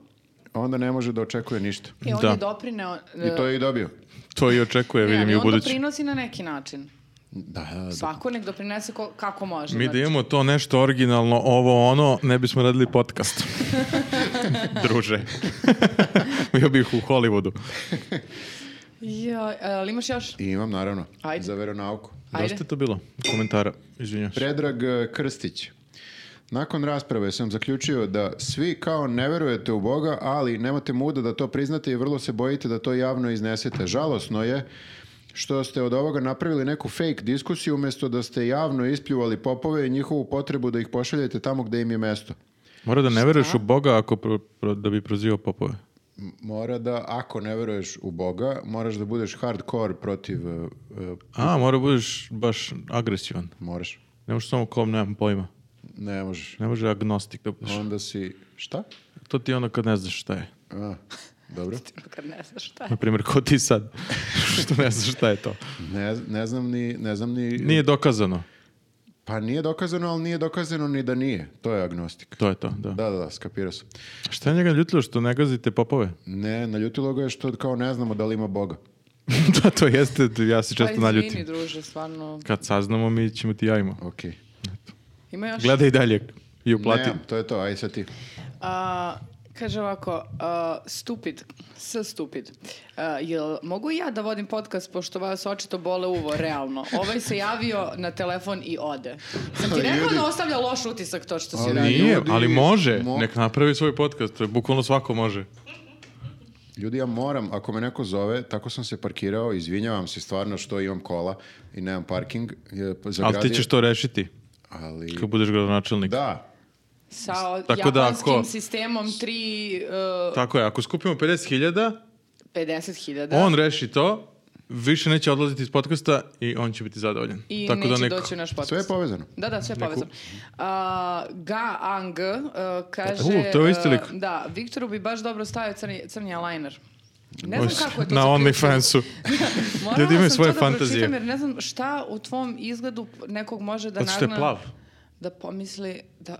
A: onda ne može da očekuje ništa.
B: E, on
C: Da.
B: je doprineo... e,
A: I to je i dobio.
C: To i očekuje, vidim i u
B: on
C: budući.
B: doprinosi na neki način.
A: Da, da, da.
B: Svako nek doprinese ko- kako može.
C: Mi da
B: znači.
C: imamo to nešto originalno, ovo ono, ne bismo radili podcast. Druže. Bio bih u Hollywoodu.
B: Ja, e, ali imaš još?
A: I imam, naravno,
B: Ajde.
A: za veronauku.
B: Ajde.
C: Dosta je to bilo komentara, izvinjaš.
A: Predrag eh, Krstić. Nakon rasprave sam zaključio da svi kao ne verujete u Boga, ali nemate muda da to priznate i vrlo se bojite da to javno iznesete. Žalosno je što ste od ovoga napravili neku fake diskusiju umjesto da ste javno ispljuvali popove i njihovu potrebu da ih pošaljete tamo gde im je mesto.
C: Mora da ne veruješ u Boga ako pro- pro- da bi prozivao popove.
A: M- Mora da, ako ne veruješ u Boga, moraš da budeš hardcore protiv... eh, eh,
C: A, mora budeš baš agresivan.
A: moraš.
C: Ne možeš samo kom, nemam pojma.
A: Ne možeš.
C: Ne može agnostik da budeš.
A: Onda si... Šta?
C: To ti je ono kad ne znaš šta je.
A: A, Dobro.
B: [laughs] Kad ne znaš šta je.
C: Na primjer, ko ti sad? [laughs] Što ne znaš šta je to.
A: Ne, ne znam ni... Ne znam ni,
C: Nije dokazano.
A: Pa nije dokazano, ali nije dokazano ni da nije. To je agnostika.
C: To je to, da.
A: Da, da, da, skapirao sam.
C: Šta je njega ljutilo što ne gazite popove?
A: Ne, naljutilo ga je što kao ne znamo da li ima Boga.
C: [laughs] da, to jeste, ja se
B: Pa
C: često
B: izvini,
C: naljutim.
B: druže, stvarno.
C: Kad saznamo, mi ćemo ti javimo.
A: Okej.
B: Ima još...
C: Gledaj dalje i uplati.
A: Nemam, to je to, aj sad ti.
B: A, kaže ovako, a, stupid, s stupid. A, jel mogu i ja da vodim podcast pošto vas očito bole uvo, realno? Ovaj se javio na telefon i ode. Sam
C: [laughs]
B: ti
A: Ali
B: rekao
A: ljudi-
B: da ostavlja loš utisak to što si
A: Ali
B: radio.
C: Nije,
A: ljudi,
C: ali može.
A: mo-
C: Nek napravi svoj podcast. To je bukvalno svako može.
A: Ljudi, ja moram, ako me neko zove, tako sam se parkirao, izvinjavam se stvarno što imam kola i nemam parking. je, pa
C: Ali
A: zagradio-
C: ti ćeš to rešiti.
A: Ali,
C: Kad budeš gradonačelnik.
A: da,
B: Sa o-
C: Tako da
B: japanskim
C: ako-
B: sistemom tri, e,
C: Tako je, ako skupimo 50.000,
B: 50.000.
C: on reši to, više neće odlaziti iz podcasta i on će biti zadovoljan.
B: I
C: Tako
B: neće
C: da neko...
B: doći u naš podcast.
A: sve je povezano.
B: Da, da, sve je povezano. A, Ga Ang a, kaže...
C: U, to je isti
B: a,
C: lik.
B: Da, Viktoru bi baš dobro stavio crni, crni eyeliner. Ne znam kako je to
C: Na
B: zaključio.
C: OnlyFansu.
B: [laughs] Morala
C: Ljudi imaju
B: sam
C: svoje
B: to da
C: fantazije.
B: pročitam jer ne znam šta u tvom izgledu nekog može da
C: Zato što je
B: nagna...
C: plav.
B: Da pomisli da...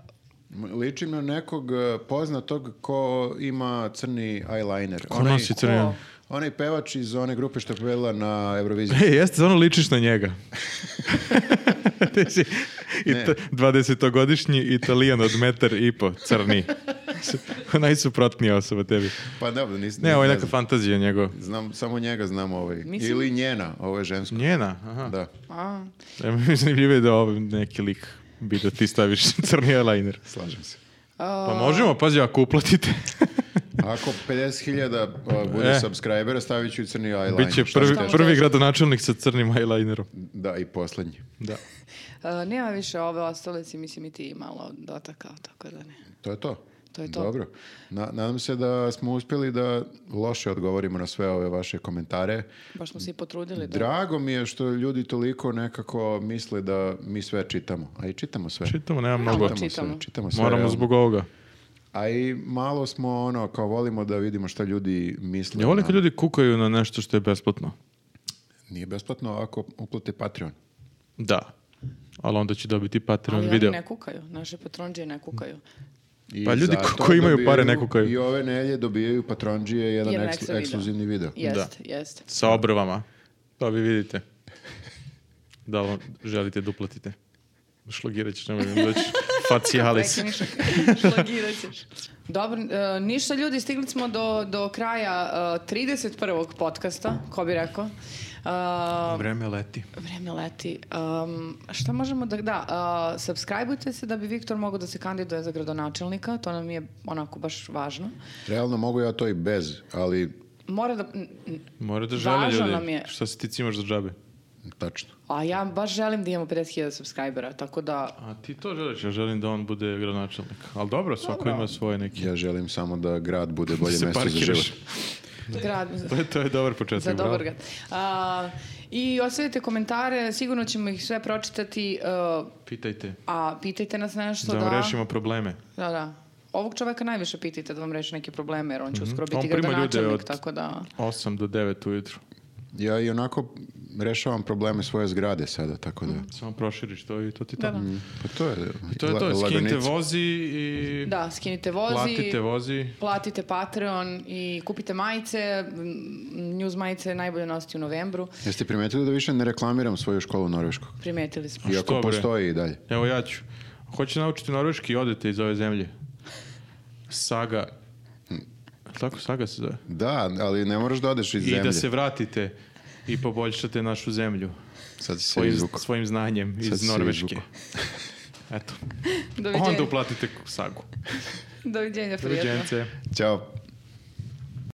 A: M- Ličim na nekog eh, poznatog ko ima crni eyeliner.
C: Ko nosi crveno?
A: onaj pevač iz one grupe što je pobedila na Euroviziji.
C: [laughs] E, jeste, stvarno ličiš na
A: [laughs]
C: njega. Ti si i
A: Ne.
C: ta- 20-godišnji italijan od metar i po, crni. [laughs] Najsuprotnija osoba tebi.
A: Pa dobro, nis,
C: Ne, ovo je neka
A: znam.
C: fantazija njegova.
A: Znam, samo njega znam ovaj.
B: Mislim-
A: Ili njena, ovo je žensko.
C: Njena, aha.
A: Da.
B: A,
C: E, mi [laughs] zanimljivo je da ovo neki lik bi da ti staviš [laughs] crni eyeliner.
A: Slažem se.
C: Pa možemo, pazi, ako uplatite,
A: Ako 50.000 a, bude
C: E.
A: subscribera, stavit ću i crni [laughs] eyeliner.
C: bit će
A: Šta
C: prvi,
A: mi kažeš?
C: prvi gradonačelnik sa crnim eyelinerom.
A: Da, i poslednji.
C: Da.
B: a, e, nema više ove ostalici, mislim i ti malo dotakao, tako da ne.
A: To je to.
B: To je to.
A: Dobro. Na, nadam se da smo uspjeli da loše odgovorimo na sve ove vaše komentare.
B: Baš smo se i potrudili. Da.
A: Drago mi je što ljudi toliko nekako misle da mi sve čitamo. A i čitamo sve.
C: Čitamo, nema
B: Mnogo.
C: mnogo.
A: Čitamo,
B: Čitamo.
A: sve. Čitamo sve.
C: Moramo
A: realno.
C: zbog ovoga.
A: A i malo smo ono, kao volimo da vidimo šta ljudi misle.
C: Ja volim
A: na-
C: kad ljudi kukaju na nešto što je besplatno.
A: Nije besplatno ako uplate Patreon.
C: Da. Ali onda će dobiti Patreon
B: Ali
C: video.
B: oni ne kukaju, naše patronđe ne kukaju.
A: I
C: Pa ljudi
A: zato
C: koji imaju pare
A: dobijaju-
C: ne kukaju.
A: I ove nelje dobijaju patronđije jedan
B: Jedan
A: eks-
B: ekstra video.
A: ekskluzivni video.
B: Jest, jest.
C: Sa obrvama. Pa vi
B: [laughs]
C: vidite. Da li želite da uplatite. Šlogirat ćeš, nemoj mi doći. Facialis.
B: Prekiniš, [laughs] šlagirat ćeš. Dobro, e, ništa ljudi, stigli smo do, do kraja e, 31. podcasta, ko bi rekao. E,
C: Vreme leti.
B: Vreme leti. Um, šta možemo da... Da, uh, subscribeujte se da bi Viktor mogao da se kandiduje za gradonačelnika. To nam je onako baš važno.
A: Realno mogu ja to i bez, ali
B: Mora da... n- n-
C: Mora da
B: Važno
C: žele
B: nam
C: ljudi.
B: je.
C: Šta se ti cimaš za džabe?
A: tačno.
B: A ja baš želim da imamo 50.000 subscribera, tako da...
C: A ti to želiš? Ja želim da on bude gradonačelnik. Ali dobro, svako ima svoje neke.
A: Ja želim samo da grad bude
C: Da
A: bolje
C: se
A: mesto za
C: parkiraš.
A: život.
B: Grad,
C: To je, to je dobar početak.
B: za
C: bravo.
B: dobar grad. A, I ostavite komentare, sigurno ćemo ih sve pročitati. uh,
C: Pitajte.
B: a pitajte nas nešto
C: Da
B: da...
C: vam rešimo probleme.
B: Da, da. Ovog čoveka najviše pitajte da vam reši neke probleme, jer on će uskoro biti
C: Mhm. On prima ljude
B: gradonačelnik,
C: od-
B: tako da...
C: 8 do 9 ujutru.
A: Ja i onako rešavam probleme svoje zgrade sada, tako da...
C: Samo proširiš to i to ti to.
B: Da, da.
A: Pa to je...
C: To je
A: la-
C: to, skinite
A: laganica.
C: vozi i
B: Da, skinite vozi.
C: platite vozi.
B: Platite Patreon i kupite majice. Mm, News majice je najbolje nositi u novembru.
A: Jeste primetili da više ne reklamiram svoju školu norveškog?
B: Primetili smo.
C: Ja.
A: Iako
C: što, bre?
A: postoji i dalje.
C: Evo ja ću. Hoćete naučiti norveški, odete iz ove zemlje. Saga. Tako saga se zove.
A: Da, ali ne moraš da odeš iz
C: I
A: zemlje.
C: da se vratite i poboljšate našu zemlju
A: Sad si se
C: svojim,
A: izvukao.
C: svojim znanjem
A: Sad
C: iz
A: si se
C: Norveške.
A: izvukao.
C: Eto.
B: Doviđenja.
C: Onda uplatite sagu.
B: Doviđenja, prijatno.
C: Doviđence.
A: Ćao.